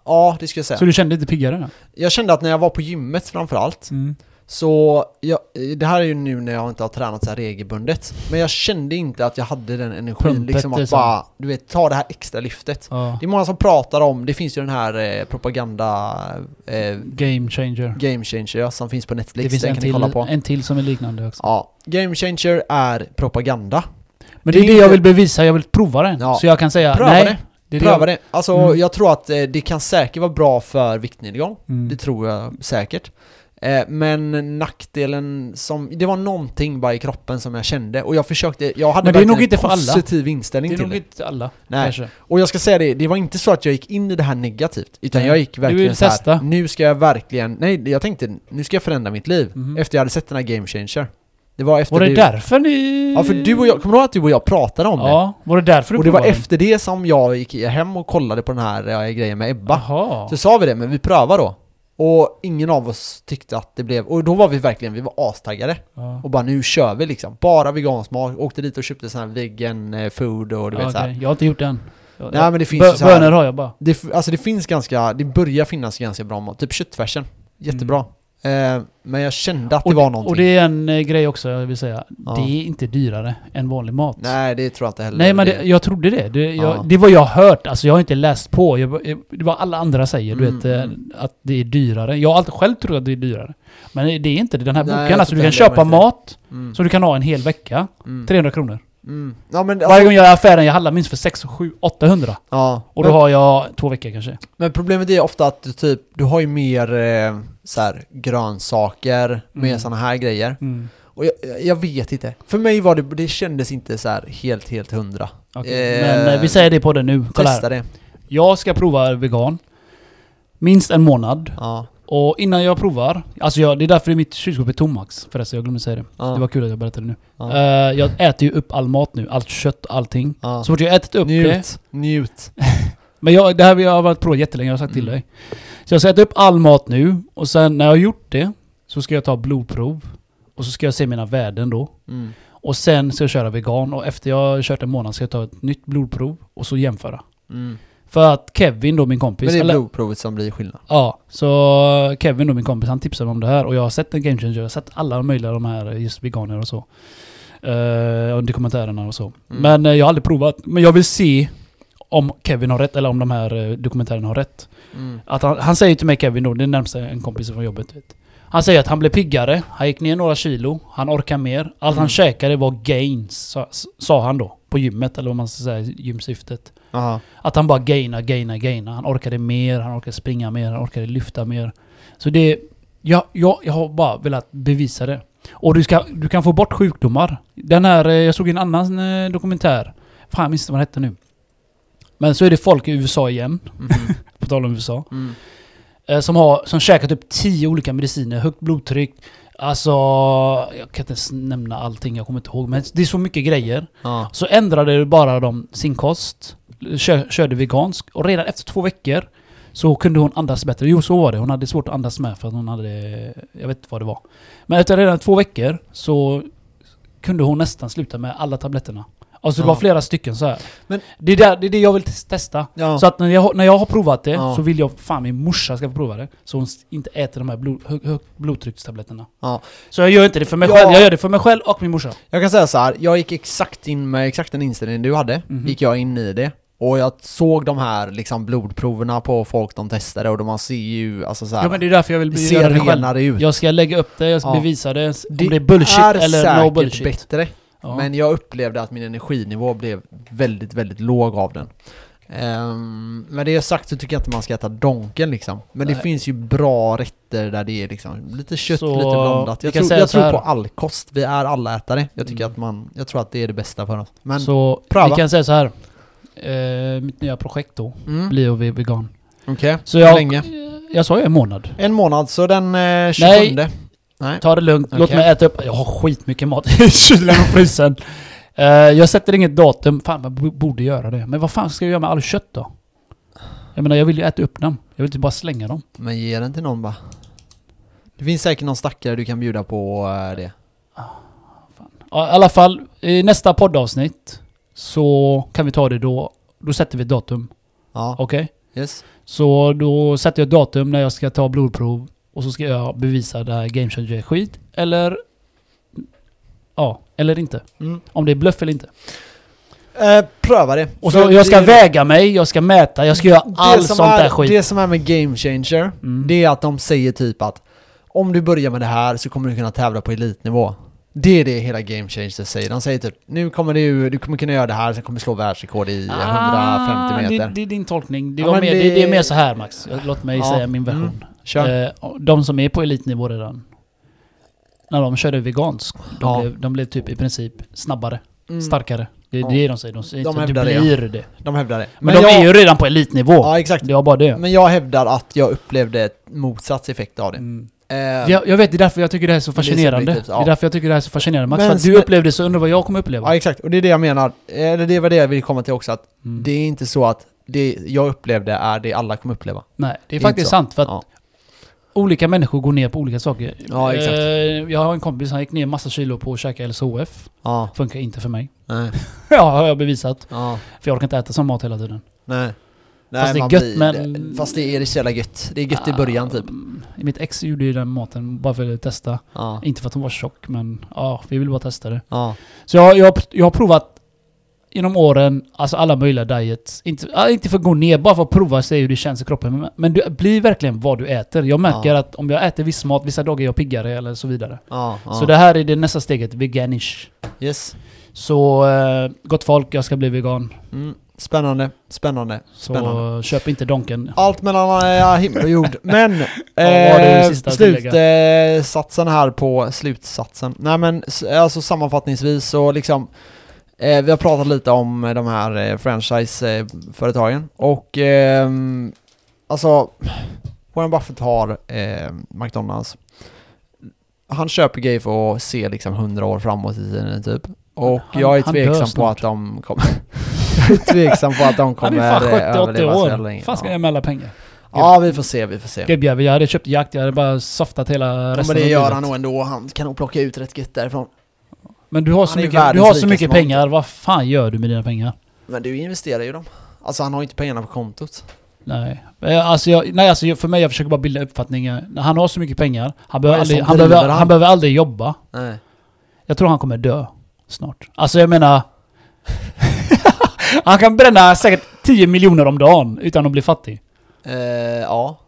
A: Ja, det skulle jag säga.
B: Så du kände dig inte piggare?
A: Jag kände att när jag var på gymmet framförallt,
B: Mm.
A: så, jag, det här är ju nu när jag inte har tränat så här regelbundet, men jag kände inte att jag hade den energin
B: Pumpet,
A: liksom att
B: liksom.
A: bara, du vet, ta det här extra lyftet.
B: Ja.
A: Det är många som pratar om, det finns ju den här eh, propaganda eh,
B: Game changer.
A: Game Changer ja, som finns på Netflix,
B: Det finns
A: den
B: en
A: kan ni kolla
B: till,
A: på.
B: en till som är liknande också.
A: Ja, Game Changer är propaganda.
B: Men det är det jag vill bevisa, jag vill prova den.
A: Ja.
B: Så jag kan säga
A: Pröva
B: nej.
A: det.
B: det är det
A: Pröva
B: jag-
A: det. Alltså
B: Mm.
A: jag tror att eh, det kan säkert vara bra för viktnedgång.
B: Mm.
A: Det tror jag säkert. Eh, Men nackdelen som, det var någonting bara i kroppen som jag kände och jag försökte, jag
B: Men
A: hade
B: det är
A: verkligen
B: nog
A: en
B: inte för alla.
A: positiv inställning
B: Det är
A: till
B: nog
A: det.
B: inte alla
A: Nej.
B: kanske.
A: Och jag ska säga det, det var inte så att jag gick in i det här negativt utan
B: Nej.
A: jag gick
B: Du
A: verkligen
B: vill
A: så här,
B: testa.
A: nu ska jag verkligen, nej jag tänkte nu ska jag förändra mitt liv
B: Mhm.
A: efter jag hade sett den här Game Changer. Det var efter
B: Var det
A: du-
B: därför ni...
A: Ja för du och jag, kommer du ihåg att du och jag pratade om det?
B: Ja, var det därför du
A: Och det var
B: provade den?
A: efter det som jag gick hem och kollade på den här eh, grejen med Ebba.
B: Jaha.
A: Så sa vi det, men vi prövar då. Och ingen av oss tyckte att det blev, och då var vi verkligen, vi var astaggade.
B: Ja.
A: Och bara nu kör vi liksom, bara vegansk mat. Åkte dit och köpte sån här vegan eh, food och du
B: Ja,
A: vet så här.
B: okej. Jag har inte gjort den. Jag-
A: Nej, men det finns
B: Bö-
A: ju så här-
B: Bönor har jag bara.
A: Det, f- alltså det finns ganska, det börjar finnas ganska bra mat, typ köttfärsen. Jättebra. Eh, men jag kände att det
B: Mm. och,
A: var någonting.
B: och det är en eh, grej också jag vill säga. Det är inte dyrare än vanlig mat.
A: Nej det tror jag inte heller.
B: Nej men
A: Det-
B: det, jag trodde det. Det, jag,
A: Ja.
B: det var jag hört, alltså jag har inte läst på. Jag, jag- det var alla andra säger, du
A: Mm,
B: vet, eh,
A: mm.
B: att det är dyrare. Jag har alltid själv trott att det är dyrare. Men det är inte det. Den här
A: Nej, jag
B: boken, alltså
A: tror
B: du kan
A: inte heller
B: köpa
A: det.
B: mat
A: Mm,
B: som du kan ha en hel vecka.
A: mm,
B: 300 kronor.
A: mm. Ja men,
B: Varje
A: alltså,
B: gång jag gör affären, jag handlar minst för 6, 7, 800.
A: ja.
B: Och då
A: men,
B: har jag två veckor kanske.
A: men problemet är ofta att du typ, du har ju mer eh, så här, grönsaker,
B: Mm.
A: mer sådana här grejer. Och jag, jag- jag vet inte. För mig var det, det kändes inte så här helt, helt hundra.
B: Okej,
A: Eh,
B: men eh, vi säger det på den nu. Kolla
A: Testa
B: här.
A: det.
B: Jag ska prova vegan. Minst en månad.
A: Ja.
B: Och innan jag provar, alltså jag, det är därför mitt kylskåp är tomax förresten, jag glömde säga det.
A: Ja.
B: Det var kul att jag berättade det nu.
A: Ja.
B: Eh, jag äter ju upp all mat nu, allt kött, allting.
A: Ja.
B: Så fort jag ätit upp det...
A: njut, njut.
B: Men jag, det här har jag varit provat jättelänge, jag har sagt
A: Mm.
B: till dig. Så jag ska äta upp all mat nu, och sen när jag har gjort det så ska jag ta blodprov. Och så ska jag se mina värden då.
A: Mm.
B: Och sen ska jag köra vegan och efter jag har kört en månad ska jag ta ett nytt blodprov och så jämföra.
A: Mm.
B: För att Kevin då, min kompis...
A: Men det är
B: eller-
A: blodprovet som blir skillnad.
B: Ja, så Kevin då, min kompis, han tipsade mig om det här och jag har sett en Game Changer, jag har sett alla möjliga de här just veganer och så. Eh, och dokumentärerna och så. Men eh, jag har aldrig provat. Men jag vill se om Kevin har rätt eller om de här eh, dokumentärerna har rätt.
A: Mm.
B: Att han, han säger till mig Kevin då, det är närmast en kompis från jobbet. Vet. Han säger att han blev piggare, han gick ner några kilo, han orkar mer. Allt han käkade var gains, sa, sa han då. På gymmet eller vad man ska säga, gymsyftet.
A: Aha.
B: Att han bara gaina, gaina, gaina. Han orkade mer, han orkade springa mer, han orkade lyfta mer. Så det... Jag, jag, jag har bara velat bevisa det. Och du, ska, du kan få bort sjukdomar. Den här... eh, Jag såg en annan eh, dokumentär. Fan, jag minns inte vad den hette nu. Men så är det folk i USA igen,
A: Mhm.
B: på tal om USA.
A: Mm.
B: eh, Som har... Som käkat upp tio olika mediciner. Högt blodtryck. Alltså... Jag kan inte ens nämna allting, jag kommer inte ihåg. Men det är så mycket grejer.
A: Ja.
B: Så ändrade bara de sin kost, kö, körde vegansk och redan efter två veckor så kunde hon andas bättre. Jo, så var det. Hon hade svårt att andas med för att hon hade... Jag vet inte vad det var. Men efter redan två veckor så kunde hon nästan sluta med alla tabletterna. Alltså det var
A: Ja.
B: flera stycken så här.
A: Men-
B: det, är där, det är det jag vill tes- testa.
A: Ja.
B: Så att när jag, när jag har provat det
A: Ja.
B: så vill jag fan min morsa ska få prova det. Så hon s- inte äter de här blod, hö, hö, blodtryckstabletterna.
A: Ja.
B: Så jag gör inte det för mig
A: Ja.
B: själv. Jag gör det för mig själv och min morsa.
A: Jag kan säga så här, jag gick exakt in med exakt den inställningen du hade,
B: Mhm.
A: gick jag in i det. Och jag såg de här liksom blodproverna på folk de testade och de man ser ju, alltså så här,
B: Ja men det är därför jag vill
A: det
B: bli- göra
A: ser
B: det själv.
A: renare ut.
B: Jag ska lägga upp det, jag ska
A: Ja.
B: bevisa det. Om det är bullshit
A: är
B: eller
A: säkert
B: no bullshit.
A: bättre,
B: Ja.
A: men jag upplevde att min energinivå blev väldigt, väldigt låg av den. Ehm, men det jag sagt så tycker jag inte man ska äta donken liksom. Men det
B: Nej.
A: finns ju bra rätter där det är liksom lite kött,
B: Så,
A: lite blandat.
B: vi
A: Jag,
B: kan
A: tror,
B: säga
A: jag
B: så
A: tror
B: här.
A: på all kost. Vi är alla ätare. Jag tycker
B: Mm.
A: att man, jag tror att det är det bästa för oss. Men,
B: så
A: pröva.
B: vi kan säga så här. Eh, mitt nya projekt då
A: mm,
B: blir att bli vegan.
A: okej.
B: Så
A: Hur
B: jag,
A: länge?
B: jag sa ju en månad.
A: En månad, så den eh, 27. Nej.
B: Ta det lugnt, låt
A: Okej.
B: mig äta upp. Jag har skitmycket mat i kylen och frysen. Eh, jag sätter inget datum. Fan, man b- borde göra det. Men vad fan ska jag göra med all kött då? Jag menar, jag vill ju äta upp dem. Jag vill inte bara slänga dem.
A: Men ge den till någon bara. Det finns säkert någon stackare du kan bjuda på eh, det.
B: Ja, I alla fall, i nästa poddavsnitt så kan vi ta det då. Då sätter vi ett datum.
A: Ja,
B: Okej?
A: yes.
B: Så då sätter jag ett datum när jag ska ta blodprov och så ska jag bevisa det här Game Changer är skit eller... Ja, eller inte.
A: Mm.
B: Om det är bluff eller inte.
A: Eh, pröva det.
B: Och
A: För
B: så jag ska
A: det-
B: väga mig, jag ska mäta, jag ska göra
A: det
B: all
A: som
B: sånt där
A: är-
B: skit.
A: Det som är med Game Changer,
B: Mm.
A: det är att de säger typ att om du börjar med det här så kommer du kunna tävla på elitnivå. Det är det hela Game Changer säger. De säger typ nu kommer du, du kommer kunna göra det här, sen kommer du slå världsrekord i 150 meter.
B: Ah, Det, det är din tolkning. Det,
A: Ja,
B: var
A: men
B: mer,
A: det-
B: det... det är mer så här Max. Låt mig
A: Ja,
B: säga min version.
A: mm. Kör.
B: Eh, de som är på elitnivå redan. När de körde vegansk. De,
A: Ja.
B: blev, de blev typ i princip snabbare,
A: Mm,
B: starkare. Det är
A: Ja.
B: det de säger. De säger
A: De
B: inte du
A: hävdar det, ja.
B: blir det.
A: de hävdar det.
B: Men, de
A: jag,
B: är ju redan på elitnivå.
A: Ja, exakt.
B: Det var bara det.
A: Men jag hävdar att jag upplevde ett motsatseffekt av det.
B: Mm.
A: Eh,
B: Jag, jag vet, det är därför jag tycker det här är så
A: Det är
B: fascinerande. Det är,
A: subjektivt, ja.
B: därför jag tycker det här är så fascinerande Max.
A: Men-
B: för att du
A: men-
B: upplevde det så undrar vad jag kommer uppleva.
A: Ja exakt, och det är det jag menar. Eh, Eller det var det jag ville komma till också, att
B: Mm.
A: det är inte så att det jag upplevde är det alla kommer uppleva.
B: Nej, det är
A: inte
B: faktiskt
A: så.
B: sant. För att
A: Ja.
B: olika människor går ner på olika saker.
A: Ja, exakt.
B: Eh, Jag har en kompis, han gick ner massa kilo på att käka LCHF.
A: Ja,
B: Funkar inte för mig.
A: nej,
B: Ja, har jag bevisat.
A: ja,
B: För jag orkar inte äta sån mat hela tiden.
A: nej.
B: Fast det är
A: man
B: gött,
A: blir-
B: men-
A: Fast det är det så jävla gött. Det är gött i början typ.
B: Mm, Mitt ex gjorde ju den maten bara för att testa.
A: Ja,
B: Inte för att hon var tjock, men ja, vi ville bara testa det.
A: ja,
B: Så jag, jag, jag har provat genom åren, alltså alla möjliga diets. Inte, ja, inte för att gå ner, bara för att prova och se hur det känns i kroppen. Men, men du blir verkligen vad du äter. Jag märker
A: Ja.
B: att om jag äter viss mat, vissa dagar är jag piggare eller så vidare.
A: ja, ja.
B: Så det här är det nästa steget, veganish.
A: Yes.
B: Så eh, gott folk, jag ska bli vegan.
A: Mm. Spännande, spännande,
B: Så
A: spännande.
B: köp inte Donken.
A: Allt mellan eh, himmel och jord. Men
B: har du
A: eh,
B: sista att tillägga?
A: slutsatsen här på slutsatsen. Nej men s- alltså sammanfattningsvis så liksom eh, vi har pratat lite om eh, de här eh, franchiseföretagen och ehm, alltså Warren Buffett har eh, McDonalds. Han köper grejer för att se liksom 100 år framåt i tiden typ. Och
B: Han-
A: jag är
B: han dör
A: tveksam på
B: snart.
A: att de kommer... jag är tveksam på att de
B: Han
A: kommer
B: är fan
A: eh,
B: 70-80
A: överleva så jävla
B: år.
A: länge.
B: Fan ska
A: Ja.
B: jag ge med alla pengar?
A: Ja, vi får se, vi får se.
B: Gubbjävel, jag hade köpt jakt, jag hade bara softat hela
A: Ja,
B: resten
A: men det
B: av
A: gör
B: livet.
A: han nog ändå, han kan nog plocka ut rätt gött därifrån.
B: Men du har så
A: Han är
B: mycket, du
A: världens
B: har så
A: rikaste
B: mycket
A: man.
B: pengar, vad fan gör du med dina pengar?
A: Men du investerar ju dem. Alltså han har ju inte pengarna på kontot.
B: Nej. Eh, Alltså jag, nej, alltså jag, för mig, jag försöker bara bilda uppfattningen. När Han har så mycket pengar, han
A: är
B: behöver,
A: det
B: aldrig,
A: som
B: han,
A: driver
B: behöver,
A: han?
B: han behöver aldrig jobba.
A: Nej.
B: Jag tror han kommer dö snart. Alltså jag menar... han kan bränna säkert 10 miljoner om dagen utan att bli fattig.
A: Eh, ja.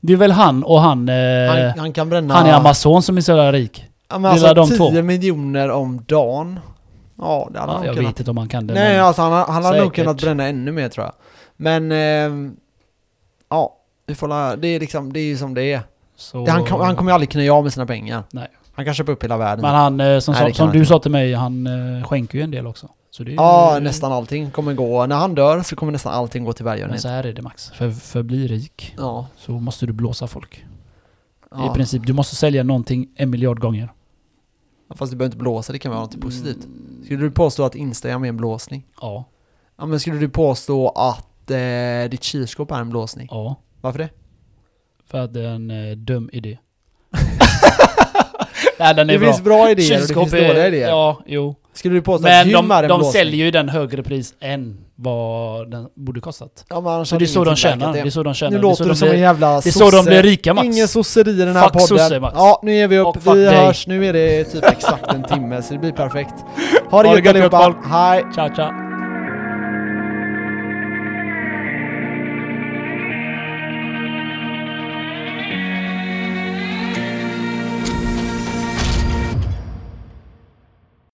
B: Det är väl han och han... Eh,
A: Han,
B: han,
A: han kan bränna...
B: i Amazon som är så jävla rik.
A: ja, men
B: det är
A: alltså,
B: de
A: 10
B: två.
A: miljoner om dagen. Ja, det hade
B: Ja,
A: han
B: jag
A: nog kunnat.
B: vet inte om han kan det.
A: Nej,
B: men,
A: alltså han, har- han hade nog
B: Säkert.
A: kunnat bränna ännu mer tror jag. Men... ehm, ja. Vi får la, det är liksom, det är ju som det är.
B: så,
A: Det, han, kom- han kommer ju aldrig kunna göra av med sina pengar.
B: Nej.
A: Han kan köpa upp hela världen.
B: men han, eh, som,
A: Nej,
B: sa-
A: det kan
B: som
A: han
B: du
A: inte.
B: sa till mig, han eh, skänker ju en del också. Så det är
A: ja,
B: ju-
A: nästan allting kommer gå. När han dör så kommer nästan allting gå till
B: Men
A: välgörenhet.
B: så här är det Max, för, för att bli rik
A: Ja.
B: så måste du blåsa folk.
A: ja.
B: I princip, du måste sälja någonting en miljard gånger.
A: Ja, Fast du behöver inte blåsa, det kan vara något positivt. Skulle du påstå att Instagram är en blåsning?
B: Ja.
A: Ja men skulle du påstå att eh, ditt kylskåp är en blåsning?
B: Ja.
A: Varför det?
B: För att det är en eh, dum idé. Nej den är
A: Det
B: bra.
A: finns bra idéer och det
B: Kylskåp
A: finns dåliga
B: är-
A: idéer.
B: Ja, jo.
A: Skulle du påstå att
B: Men
A: gym är
B: de,
A: en
B: de
A: blåsning?
B: säljer ju den högre pris än vad den borde kostat.
A: Ja, men annars
B: Så
A: hade
B: det är så
A: ingen
B: de
A: tillverkat
B: tjänar. Det är så de tjänar.
A: Nu
B: det är så
A: låter
B: de
A: du som en
B: blir-
A: jävla
B: det är så de blir rika Max.
A: Ingen sosse i den här
B: Fuck
A: podden.
B: sosse, Max.
A: Ja, nu ger vi upp.
B: Och fuck
A: vi
B: dig.
A: hörs. Nu är det typ exakt en timme så det blir perfekt. Ha det
B: Ha det
A: gött
B: gött,
A: allihopa.
B: folk.
A: Hej.
B: Ciao ciao.